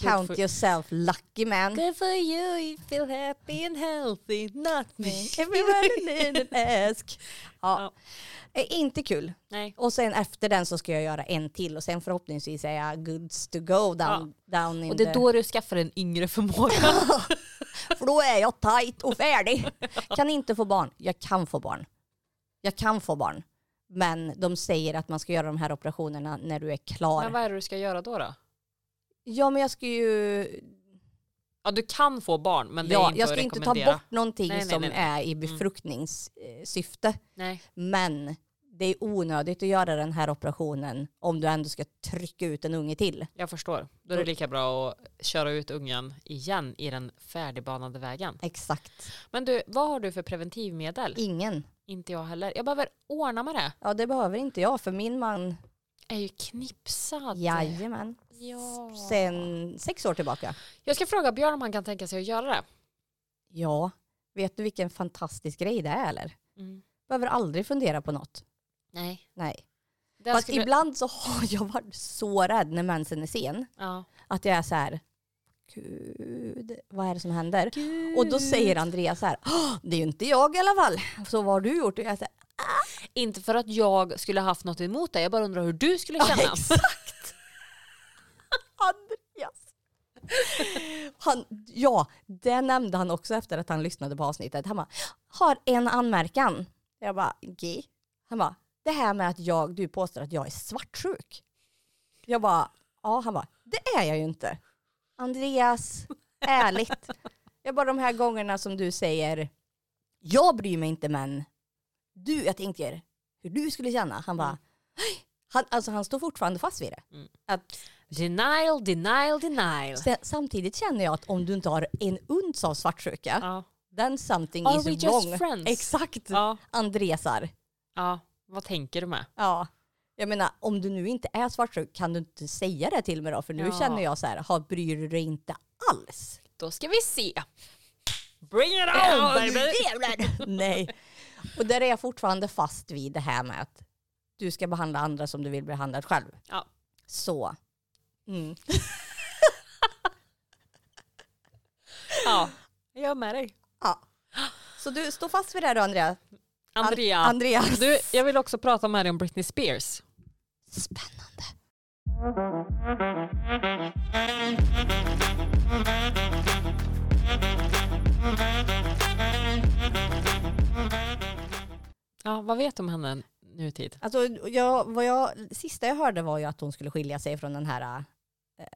Good Count for- yourself lucky man. Good for you, you feel happy and healthy, not me. Everyone in an ask. Ja. Ja. Eh, Inte kul. Nej, Och sen efter den så ska jag göra en till och sen förhoppningsvis är jag goods to go down, down in och det är the- då du skaffar en yngre förmåga. För då är jag tight och färdig. Kan inte få barn. Jag kan få barn. Jag kan få barn. Men de säger att man ska göra de här operationerna när du är klar. Men vad är det du ska göra då? då? Ja men jag ska ju... Ja, du kan få barn, men det är Ja, inte jag att ska inte ta rekommendera. bort någonting Nej, nej, som nej, Mm. nej. är i befruktningssyfte. Nej. Men det är onödigt att göra den här operationen om du ändå ska trycka ut en unge till. Jag förstår. Då är det lika bra att köra ut ungen igen i den färdigbanade vägen. Exakt. Men du, vad har du för preventivmedel? Ingen. Inte jag heller. Jag behöver ordna med det. Ja det behöver inte jag för min man, Jag är ju knipsad. jajamän, Ja. sen sex år tillbaka. Jag ska fråga Björn om han kan tänka sig att göra det. Ja, vet du vilken fantastisk grej det är eller? Mm. Behöver aldrig fundera på något. Nej. Nej. Det Fast skulle- ibland så har jag varit så rädd när mensen är sen Ja. att jag är så här, gud, vad är det som händer? Och då säger Andreas så här, "Åh, det är ju inte jag i alla fall. Så vad har du gjort? Och jag är så här, Inte för att jag skulle haft något emot det, jag bara undrar hur du skulle känna. Exakt. Andreas. Han, ja, det nämnde han också efter att han lyssnade på avsnittet. Han bara, har en anmärkan. Jag bara, G. Han bara, det här med att jag, du påstår att jag är svartsjuk. Jag bara, ja, han bara, det är jag ju inte. Andreas, ärligt. Jag bara, de här gångerna som du säger, jag bryr mig inte men du, jag tänker hur du skulle känna. Han bara, han, alltså han står fortfarande fast vid Mm. det. Att, denial, denial, denial. se- samtidigt känner jag att om du inte har en uns av svartsjuka, Ja. then something Are is we just wrong. friends? Exakt. Ja. Andresar. ja, vad tänker du med? Ja. Jag menar, om du nu inte är svartsjuk kan du inte säga det till mig då? För nu Ja. känner jag så här, ha, bryr du dig inte alls? Då ska vi se. Bring it on baby! Nej. Och där är jag fortfarande fast vid det här med att du ska behandla andra som du vill bli behandlad själv. Ja. Så. Mm. Ja, jag är med dig. Ja. Så du står fast vid det här då Andrea? Andrea, An- Andreas. Du, jag vill också prata med dig om Britney Spears. Spännande. Ja, vad vet du om henne nutid? Alltså, jag, vad jag, sista jag hörde var ju att hon skulle skilja sig från den här, eh,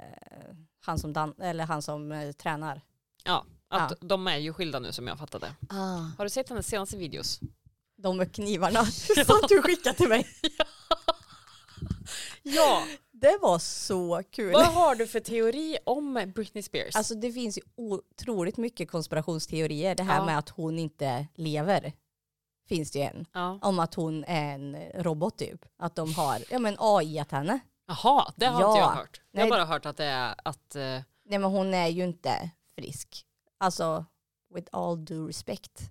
han som, dan, eller han som eh, tränar. Ja, att de är ju skilda nu som jag fattade. Har du sett hennes senaste videos? De med knivarna som du skickade till mig. Ja, Det var så kul. vad har du för teori om Britney Spears? Alltså det finns ju otroligt mycket konspirationsteorier. Det här Ja. med att hon inte lever finns det ju en. ja. Om att hon är en robot typ. Att de har, ja men AI att henne. Jaha, det har Ja. inte jag hört. Jag har Nej. bara hört att det är att... eh, Nej men hon är ju inte frisk. Alltså with all due respect.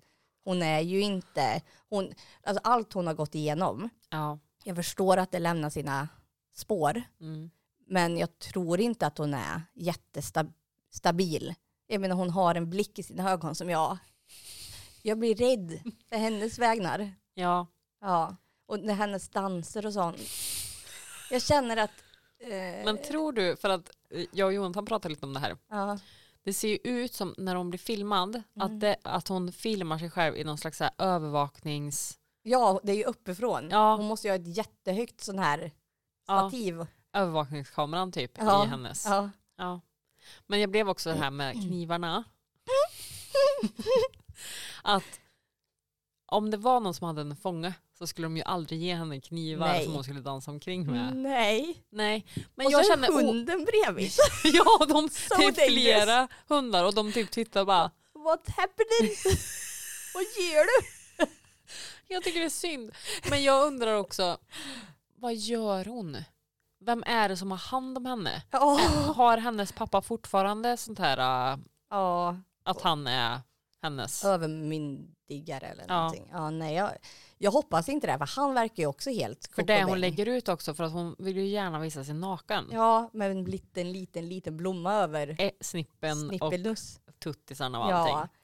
Hon är ju inte, hon, alltså allt hon har gått igenom. ja. Jag förstår att det lämnar sina spår. Mm. Men jag tror inte att hon är jättestabil. Jag menar hon har en blick i sina ögon som jag, jag blir rädd för hennes vägnar. Ja. Ja, och när hennes danser och sånt. Jag känner att, eh, Men tror du, för att eh, jag och Jonathan pratade lite om det här. ja, Det ser ju ut som när hon blir filmad att, det, att hon filmar sig själv i någon slags så här övervaknings... ja det är ju uppifrån. Ja. Hon måste ju ha ett jättehögt sån här Ja, stativ. Ja. övervakningskameran typ Ja. i hennes. Ja. Ja. Men jag blev också det här med Mm. knivarna. att om det var någon som hade en fånge så skulle de ju aldrig ge henne knivar Nej. som hon skulle dansa omkring med. Nej. Nej, men Och jag så känner... är Oh, hunden bredvid. ja, de, So det är dangerous. flera hundar och de typ tittar bara. What happening? Vad gör du? Jag tycker det är synd. Men jag undrar också, vad gör hon? Vem är det som har hand om henne? Ja. Har hennes pappa fortfarande sånt här äh, Ja. att han är hennes? övermyndigare eller Ja. någonting. Ja, nej, jag, jag hoppas inte det, för han verkar ju också helt För koko det hon bäng. lägger ut också för att hon vill ju gärna visa sig naken. Ja, med en liten, liten, liten blomma över Eh, Snippen och snippelnuss. tuttisarna och Ja. allting.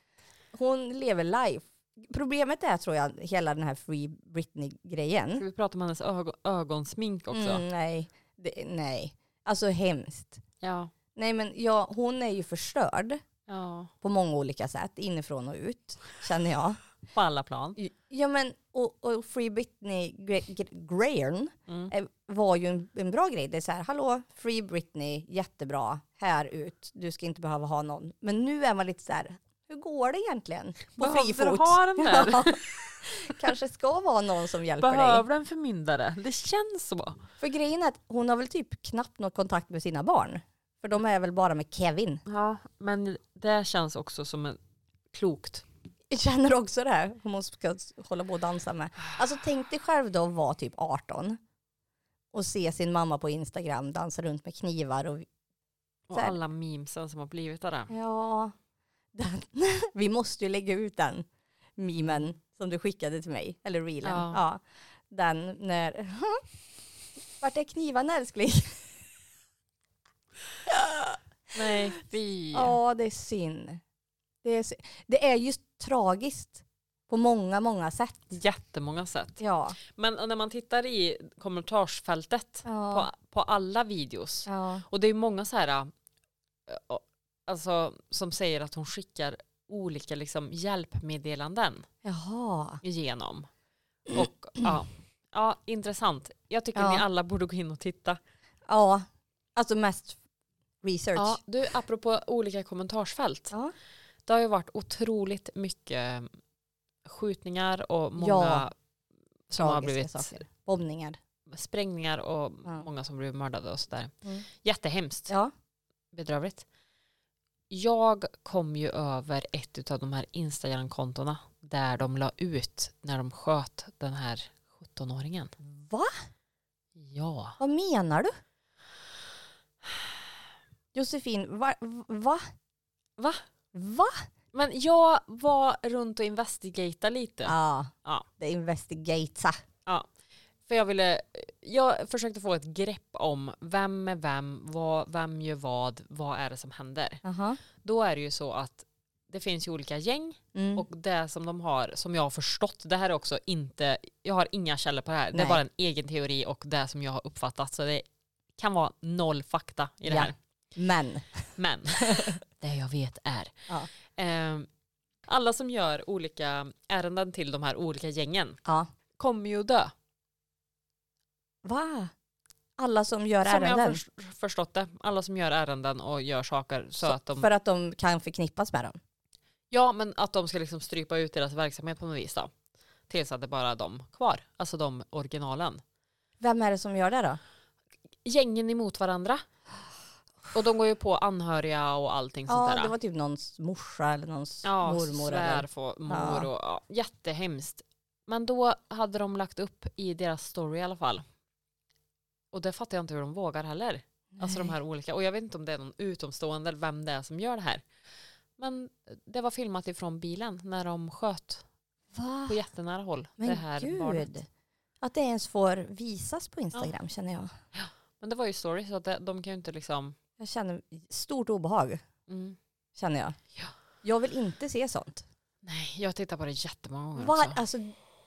Hon lever life. Problemet är tror jag hela den här Free Ska Britney-grejen. vi prata om hennes ögon, ögonsmink också? Mm, nej, det, nej. Alltså hemskt. Ja. Nej men ja, hon är ju förstörd ja. på många olika sätt, inifrån och ut, känner jag. På alla plan. Ja men och, och Free Britney Gre- Gre- Graham Mm. eh, var ju en, en bra grej. Det är så här, hallå, Free Britney, jättebra, här ut, du ska inte behöva ha någon. Men nu är man lite så här, hur går det egentligen? På Behövde fri du fot. ha den där? Ja. Kanske ska vara någon som hjälper dig. Behöver en förmyndare? Det känns så. För grejen är att hon har väl typ knappt någon kontakt med sina barn. För de är väl bara med Kevin. Ja, men det känns också som en klokt. Jag känner också det här, om hon ska hålla på och dansa med. Alltså tänk dig själv då att vara typ 18 och se sin mamma på Instagram dansa runt med knivar och Och Så här. alla memesen som har blivit av Mm. det. ja, den. vi måste ju lägga ut den memen som du skickade till mig, eller reelen. Ja. Ja. Den när, vart är knivarna älskling? Nej, fy. Ja, det är synd. Det är, synd. det är just tragiskt på många, många sätt. Jättemånga sätt. Ja. Men när man tittar i kommentarsfältet Ja. på, på alla videos. ja. Och det är många så här, äh, äh, alltså, som säger att hon skickar olika liksom, hjälpmeddelanden Jaha. igenom. Och ja, ja intressant. Jag tycker Ja. ni alla borde gå in och titta. Ja, alltså mest research. Ja, du, apropå olika kommentarsfält. Ja. Det har ju varit otroligt mycket mm, skjutningar och många Ja. som har Tragiska blivit saker. Bombningar. sprängningar och Ja. många som blivit mördade och sådär. Mm. Jättehemskt, Ja. bedrövligt. Jag kom ju över ett av de här Instagram-kontona där de la ut när de sköt den här 17-åringen. Va? Ja. Vad menar du? Josefin, va? Va? Va? Va? Men jag var runt och investigata lite. Ja. Ja. Det är investigata. För jag ville, jag försökte få ett grepp om vem är vem, vad, vem gör vad, vad är det som händer. Jaha. Då är det ju så att det finns ju olika gäng Mm. och det som de har, som jag har förstått, det här är också inte, jag har inga källor på det här, det är Nej. bara en egen teori och det som jag har uppfattat så det kan vara noll fakta i det Ja. här. Men. Men det jag vet är. Ja. Eh, alla som gör olika ärenden till de här olika gängen Ja. kommer ju dö. Va? Alla som gör Som jag har ärenden. förs- förstått det. Alla som gör ärenden och gör saker så, Så- att de... För att de kan förknippas med dem. Ja, men att de ska liksom strypa ut deras verksamhet på något vis då. Tills att det bara är de kvar. Alltså de originalen. Vem är det som gör det då? gängen emot varandra. Och de går ju på anhöriga och allting sånt Ja, där. det var typ någons morsa eller någons ja, mormor. Eller. svärmor Ja. och ja, jättehemskt. Men då hade de lagt upp i deras story i alla fall. Och det fattar jag inte hur de vågar heller. Alltså de här olika. Och jag vet inte om det är någon utomstående eller vem det är som gör det här. Men det var filmat ifrån bilen när de sköt Va? på jättenära håll. Ah. Men det här gud. barnet. Att det ens får visas på Instagram känner jag. Men det var ju story så att det, de kan ju inte liksom. Jag känner stort obehag. Mm. Känner jag. Ja. Jag vill inte se sånt. Nej, jag tittar på det jättemånga gånger Var, också. alltså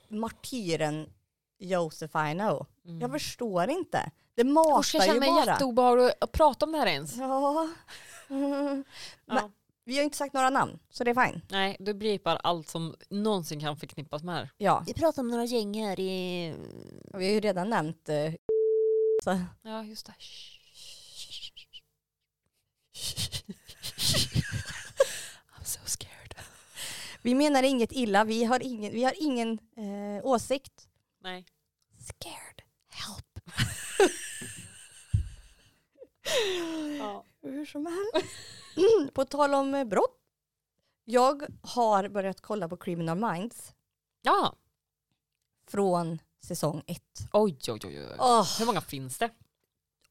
martyren Josefino. Mm. Jag förstår inte. Det Usch, jag matar känner ju mig bara. jätteobehaglig att prata om det här ens. Ja. Mm. Ja. Vi har inte sagt några namn, så det är fine. Nej, du blipar allt som någonsin kan förknippas med det här. Ja. Vi pratar om några gäng här i... Vi har ju redan nämnt eh, så. Ja, just det. I'm so scared. Vi menar inget illa, vi har ingen, vi har ingen eh, åsikt. Nej. Scared. Help. Hur som helst. på tal om eh, brott. Jag har börjat kolla på Criminal Minds Ja, från säsong ett. oj oj oj. oj. Åh, Hur många finns det?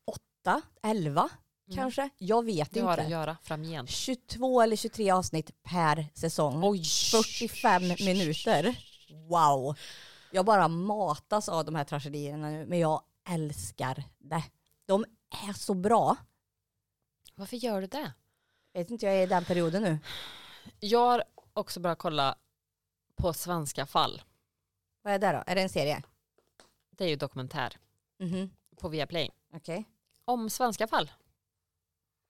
åtta, elva kanske? Jag vet Mm. Det har att inte. göra framgent. 22 eller 23 avsnitt per säsong. Oj. 45 minuter. Wow. Jag bara matas av de här tragedierna nu, men jag älskar det. De är så bra. Varför gör du det? Jag vet inte, jag är i den perioden nu. Jag har också börjat kolla på svenska fall. Vad är det då? Är det en serie? Det är ju dokumentär Mhm. på Viaplay. Okej. Om svenska fall.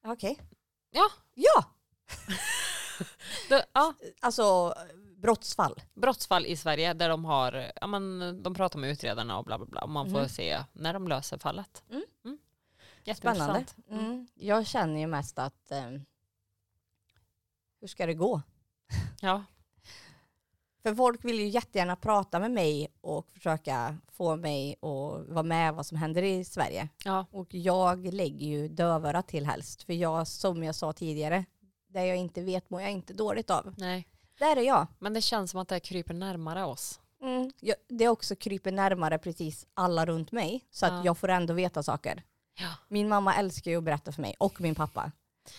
Okej. Ja. Ja, Det, ja, alltså brottsfall. brottsfall i Sverige där de har, ja men de pratar med utredarna och bla bla bla och man får Mm. se när de löser fallet. Mm. Spännande. Jätteintressant. Mm. Mm. Jag känner ju mest att eh, hur ska det gå? Ja. För folk vill ju jättegärna prata med mig och försöka få mig att vara med vad som händer i Sverige. Ja. Och jag lägger ju dövörat till helst. För jag, som jag sa tidigare, det jag inte vet mår jag inte dåligt av. nej. Där är jag. Men det känns som att det här kryper närmare oss. Mm. jag det också kryper närmare precis alla runt mig. Så att Ja. jag får ändå veta saker. Ja. Min mamma älskar ju att berätta för mig och min pappa.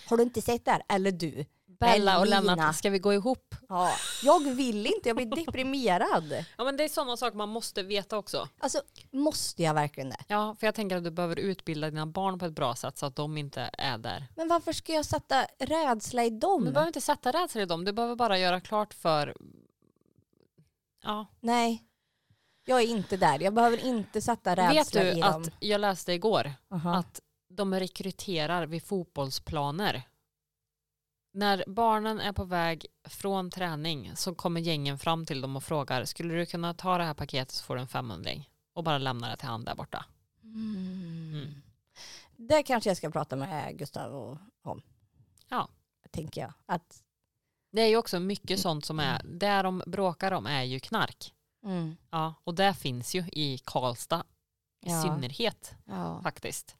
Har du inte sett det här? Eller du. Bella och Lina. Lennart, ska vi gå ihop? Ja. Jag vill inte, jag blir deprimerad. Ja men det är sådana saker man måste veta också. Alltså måste jag verkligen det? Ja, för jag tänker att du behöver utbilda dina barn på ett bra sätt så att de inte är där. Men varför ska jag sätta rädsla i Du dem? behöver inte sätta rädsla i dem, du behöver bara göra klart för... Ja. Nej, jag är inte där. Jag behöver inte sätta Vet rädsla i du dem. att jag läste igår Aha. att de rekryterar vid fotbollsplaner. När barnen är på väg från träning så kommer gängen fram till dem och frågar skulle du kunna ta det här paketet så får du en 500 och bara lämna det till han där borta. Mm. Det kanske jag ska prata med Gustav och om. Ja. Tänker jag. Att, Det är ju också mycket sånt som är, det de bråkar om är ju knark. mm, Ja, och det finns ju i Karlstad i Ja. synnerhet ja. faktiskt.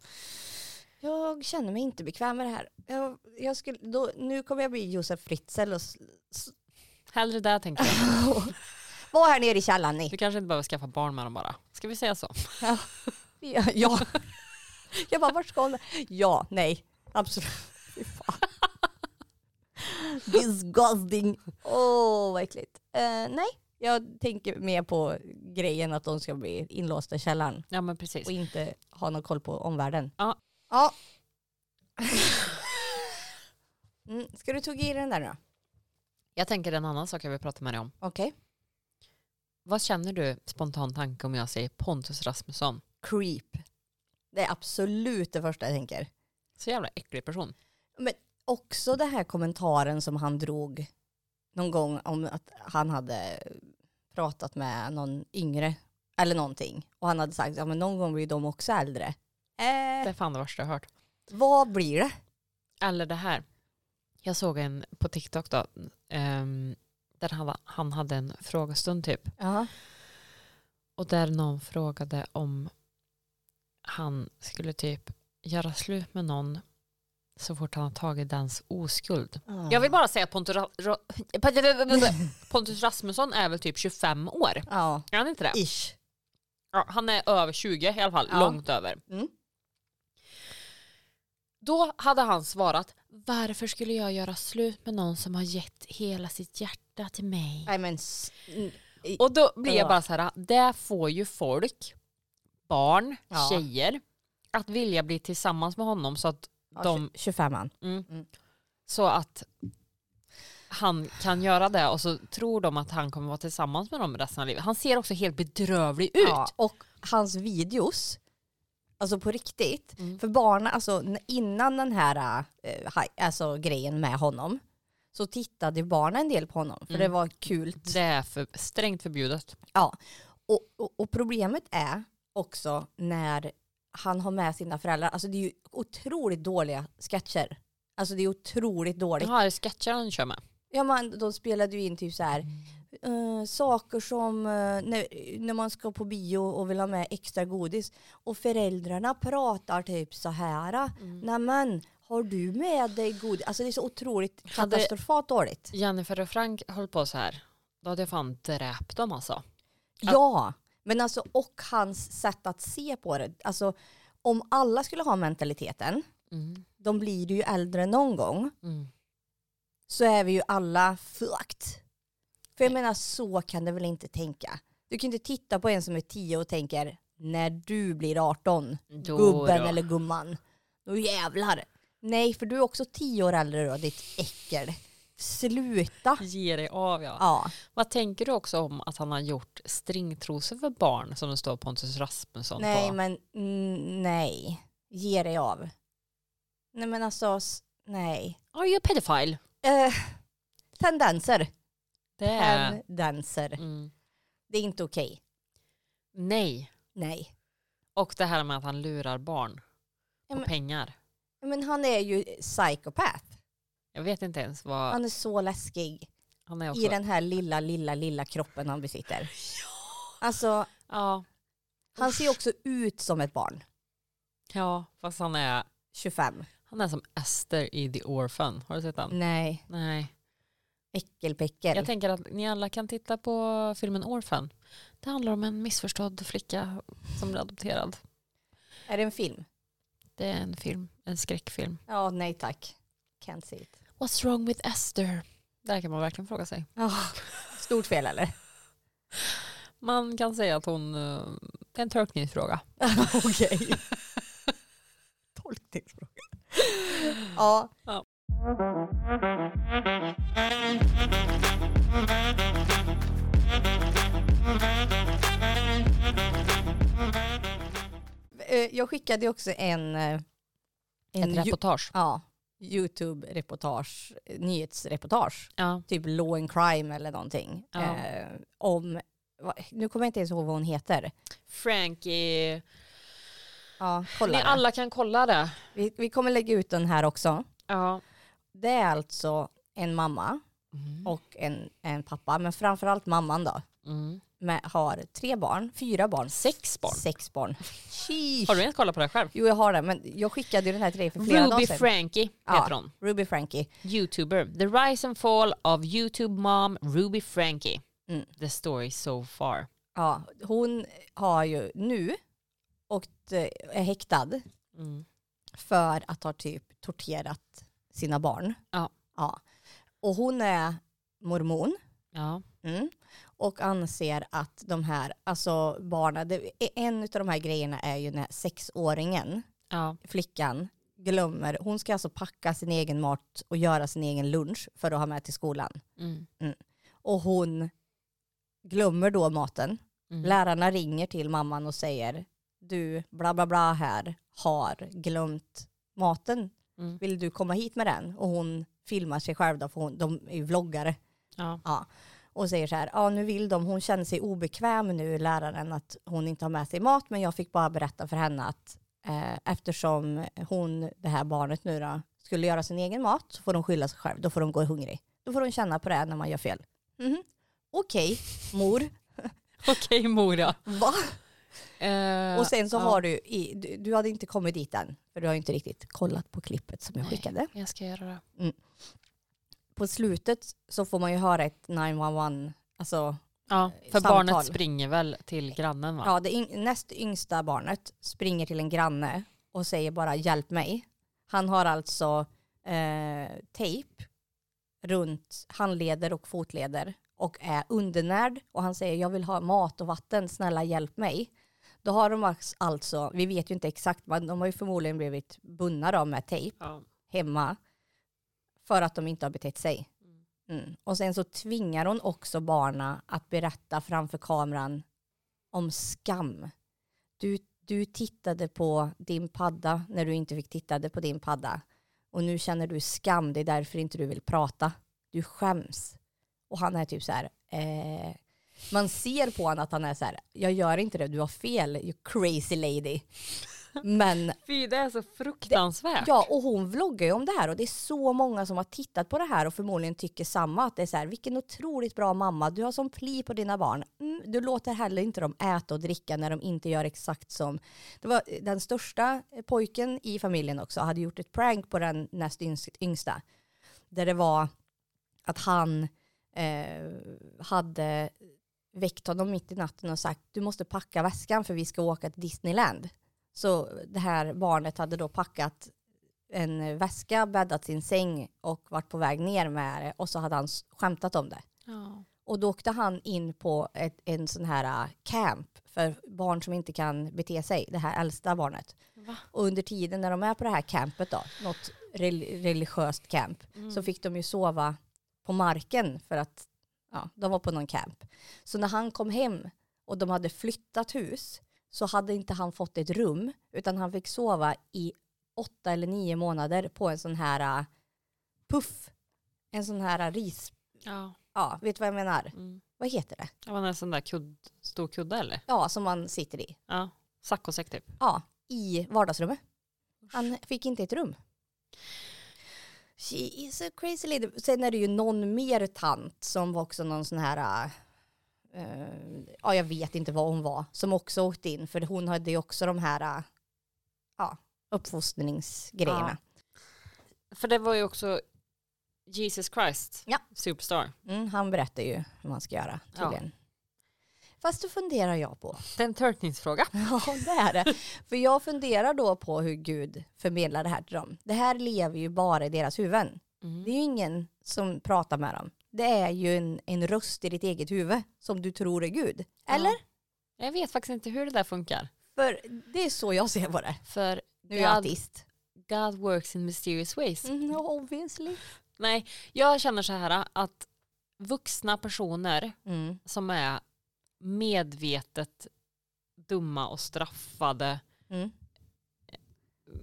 Jag känner mig inte bekväm med det här. Jag, jag skulle, då, nu kommer jag bli Josef Fritzl och s- s- Hellre det tänker jag. vara här nere i källaren ni. Du kanske inte behöver skaffa barn med dem bara. Ska vi säga så? Ja. ja. Jag bara, vart ska hon? Ja, nej, absolut. Fy fan. Disgusting. Åh, vad äckligt. Eh, nej, jag tänker mer på grejen att de ska bli inlåsta i källaren Ja men precis. och inte ha någon koll på omvärlden. Ja. ja. Mm, ska du tugga i den där då? Jag tänker en annan sak jag vill prata med dig om. Okej. Vad känner du spontan tanke om jag säger Pontus Rasmusson? Creep. Det är absolut det första jag tänker. Så jävla äcklig person. Men också den här kommentaren som han drog någon gång om att han hade pratat med någon yngre eller någonting. Och han hade sagt, ja men någon gång blir de också äldre. Det Eh, är fan det värsta jag hört. vad blir det? Eller det här. Jag såg en på TikTok då. ehm, där han, var- han hade en frågestund typ. Ja. Och där någon frågade om han skulle typ göra slut med någon så fort han har tagit dens oskuld. Jag vill bara säga att Pontus, Ra- Ra- Pontus Rasmusson är väl typ 25 år. Ja, Är han inte det? ish. Ja, han är över 20 i alla fall, Ja. långt över. Mm. Då hade han svarat, varför skulle jag göra slut med någon som har gett hela sitt hjärta till mig? Nej men... s- n- i- Och då blir jag Ja. bara så här, det får ju folk, barn, Ja. tjejer, att vilja bli tillsammans med honom så att, ja, de- 25 man. så att han kan göra det och så tror de att han kommer vara tillsammans med dem resten av livet. Han ser också helt bedrövlig ut. Ja, och hans videos, alltså på riktigt, Mm. för barnen, alltså n- innan den här eh, haj- alltså, grejen med honom så tittade ju barnen en del på honom för Mm. det var kul. Det är för, strängt förbjudet. Ja. Och, och, och problemet är också när han har med sina föräldrar, alltså det är ju otroligt dåliga sketcher. Alltså det är otroligt dåligt. Ja, det är sketcher han kör med. Ja men de spelade ju in typ så här eh, saker som eh, när, när man ska på bio och vill ha med extra godis och föräldrarna pratar typ så här. Mm. Nämen, har du med dig godis? Alltså det är så otroligt Hade- katastrofalt dåligt. Jennifer och Frank höll på så här. Då hade jag fan dräpt dem alltså. Ja, men alltså och hans sätt att se på det. Alltså om alla skulle ha mentaliteten, Mm. de blir ju äldre någon gång, Mm. så är vi ju alla fucked. För jag menar så kan du väl inte tänka. Du kan inte titta på en som är 10 och tänker när du blir 18, Då gubben då. eller gumman, då jävlar. Nej, för du är också 10 år äldre då, ditt äckel. Sluta. Ge dig av ja. Ja, Vad tänker du också om att han har gjort stringtrosor för barn som det står Pontus Rasmusson nej på? men mm, nej. Ge dig av. Nej men alltså, s- nej. Are you a pedophile? Eh, tendenser. Det är... Tendenser. Mm. Det är inte okej. Nej. Nej. Och det här med att han lurar barn Ja, på men- pengar. Men han är ju psykopat. Jag vet inte ens vad... Han är så läskig Han är i också... den här lilla, lilla, lilla kroppen han besitter. Alltså, Ja. han ser ju också ut som ett barn. ja, fast han är... 25. Han är som Esther i The Orphan. Har du sett den? Mm. Nej. Nej. Jag Äckelpäckel. tänker att ni alla kan titta på filmen Orphan. Det handlar om en missförstådd flicka som blir adopterad. Är det en film? Det är en film, en skräckfilm. Ja, nej tack. Can't see it. What's wrong with Esther? Där kan man verkligen fråga sig. Ja, Ah. stort fel eller? Man kan säga att hon, eh, det är en tolkningsfråga. Okej. Tolkningsfråga. Ja. Ja. Eh, Jag skickade ju också en... eh, Ett ju- reportage. Ja, YouTube-reportage, eh, nyhetsreportage, Ja. typ Law and Crime eller någonting. Ja. Eh, om, va- nu kommer jag inte ens ihåg vad hon heter. Frankie. Ja, kolla Ni det. alla kan kolla det. vi, vi kommer lägga ut den här också. Ja. Det är alltså en mamma och en, en pappa, men framförallt mamman då. Mm. Med, har tre barn, fyra barn, Sex barn. sex barn. Sheesh. Har du ens kollat på det själv? Jo jag har det, men jag skickade ju den här till dig för flera dagar Ruby sedan. Frankie heter hon. Ruby Frankie. YouTuber. The rise and fall of YouTube mom Ruby Frankie. Mm. The story so far. Ja, hon har ju nu och är häktad Mm. för att ha typ torterat sina barn. Ja. ja. Och hon är mormon Ja. mm, och anser att de här, alltså barnen, det, en av de här grejerna är ju när sexåringen, ja. flickan, glömmer, hon ska alltså packa sin egen mat och göra sin egen lunch för att ha med till skolan. Mm. Och hon glömmer då maten. Mm. Lärarna ringer till mamman och säger du bla bla bla här har glömt maten. Mm. Vill du komma hit med den? Och hon filmar sig själv då för hon, de är ju vloggare. Ja. Ja. Och säger så här, ja nu vill de, hon känner sig obekväm nu läraren att hon inte har med sig mat men jag fick bara berätta för henne att eh, eftersom hon, det här barnet nu då, skulle göra sin egen mat så får hon skylla sig själv, då får hon gå hungrig. Då får hon känna på det när man gör fel. Mhm. Okej, mor. Okej Mora. Va? Eh, Och sen så ja. har du, i, du, du hade inte kommit dit än, för du har ju inte riktigt kollat på klippet som jag Nej. skickade. Jag ska göra det. På slutet så får man ju höra ett 911, alltså Ja, för Samtal. barnet springer väl till grannen va? ja, det yng, näst yngsta barnet springer till en granne och säger bara hjälp mig. Han har alltså eh, tejp runt handleder och fotleder och är undernärd och han säger jag vill ha mat och vatten, snälla hjälp mig. Då har de ax- alltså, vi vet ju inte exakt, men de har ju förmodligen blivit bundna då med tejp Ja. hemma för att de inte har betett sig. Mm. Och sen så tvingar hon också barna att berätta framför kameran om skam. Du, du tittade på din padda när du inte fick tittade på din padda. Och nu känner du skam, det är därför inte du vill prata. Du skäms. Och han är typ så här, eh, man ser på honom att han är så här, jag gör inte det, du har fel, you crazy lady. Men Fy, det är så fruktansvärt. Ja, och hon vloggar ju om det här och det är så många som har tittat på det här och förmodligen tycker samma. Att det är så här, vilken otroligt bra mamma, du har som pli på dina barn. Mm, du låter heller inte dem äta och dricka när de inte gör exakt som... Det var eh, den största pojken i familjen också, hade gjort ett prank på den näst yngst- yngsta. Där det var att han eh, hade väckt honom mitt i natten och sagt du måste packa väskan för vi ska åka till Disneyland. Så det här barnet hade då packat en väska, bäddat sin säng och varit på väg ner med det och så hade han s- skämtat om det. Ja. Och då åkte han in på ett, en sån här äh, camp för barn som inte kan bete sig, det här äldsta barnet. Va? Och under tiden när de är på det här campet då, något rel- religiöst camp, så fick de ju sova på marken för att ja, de var på någon camp. Så när han kom hem och de hade flyttat hus så hade inte han fått ett rum utan han fick sova i åtta eller nio månader på en sån här äh, puff, en sån här äh, ris, Ja. ja vet du vad jag menar? Mm. vad heter det? Det var en sån där kudd, stor kudde eller? Ja, som man sitter i. Ja. Saccosäck typ. Ja, i vardagsrummet. Han fick inte ett rum. She is a crazy lady. Sen är det ju någon mer tant som var också någon sån här, eh, ja jag vet inte vad hon var, som också åkte in för hon hade ju också de här eh, ja, uppfostringsgrejerna. För det var ju också Jesus Christ, Ja. Superstar. Mm, han berättar ju hur man ska göra tydligen. Fast då funderar jag på, Det är en tolkningsfråga. Ja, det är det. För jag funderar då på hur Gud förmedlar det här till dem. Det här lever ju bara i deras huvuden. Mm. Det är ju ingen som pratar med dem. Det är ju en, en röst i ditt eget huvud som du tror är Gud. Eller? Jag vet faktiskt inte hur det där funkar. För det är så jag ser på det. För Nu är jag God, ateist. God works in mysterious ways. Mm, obviously. Nej, jag känner så här att vuxna personer Mm. som är medvetet dumma och straffade Mm.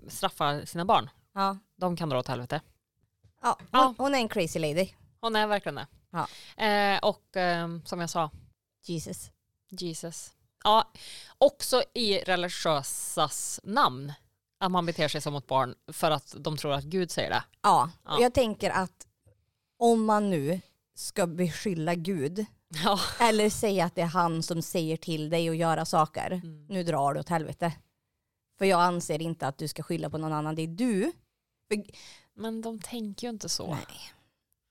straffar sina barn. Ja. De kan dra åt helvete. Ja, hon, Ja. hon är en crazy lady. Hon är verkligen det. Ja. Eh, och ehm, som jag sa, Jesus. Jesus. Ja, också i religiösas namn. Att man beter sig som ett barn för att de tror att Gud säger det. Ja. Ja. Och jag tänker att om man nu ska beskylla Gud Ja. Eller säga att det är han som säger till dig att göra saker. Mm. Nu drar du åt helvete. För jag anser inte att du ska skylla på någon annan, det är du. För, Men de tänker ju inte så. nej.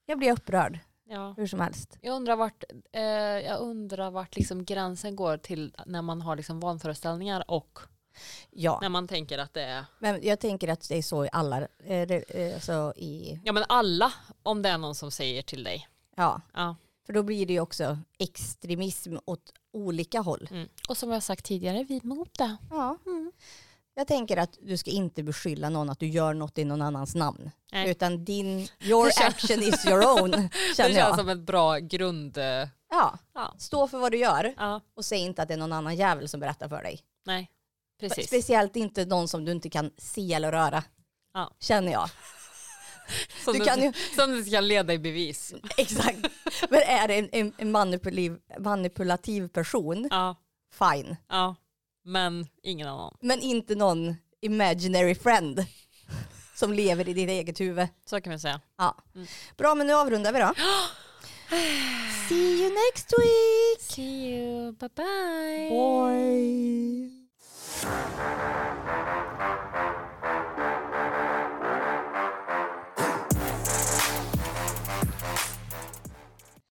Jag blir upprörd, Ja. hur som helst. Jag undrar vart, eh, jag undrar vart liksom gränsen går till när man har liksom vanföreställningar och Ja, när man tänker att det är men jag tänker att det är så i alla, eh, re- eh, alltså i, Ja men alla, om det är någon som säger till dig. ja. Ja. För då blir det ju också extremism åt olika håll. Mm. Och som jag sagt tidigare, vi är emot det. Ja. Jag tänker att du ska inte beskylla någon att du gör något i någon annans namn. Nej. Utan din, your Det kän- action is your own, det känner känns jag. som ett bra grund... eh, Ja. Ja. Stå för vad du gör Ja, och säg inte att det är någon annan jävel som berättar för dig. nej. Precis. Speciellt inte någon som du inte kan se eller röra. Ja. Känner jag. som, du du kan ju- som du ska leda i bevis. Exakt. Men är det en, en, en manipulativ, manipulativ person, Ja, fine. ja. Men ingen annan. Men inte någon imaginary friend som lever i ditt eget huvud. Så kan vi säga. Ja. Bra, men nu avrundar vi då. See you next week! See you. Bye bye. Bye!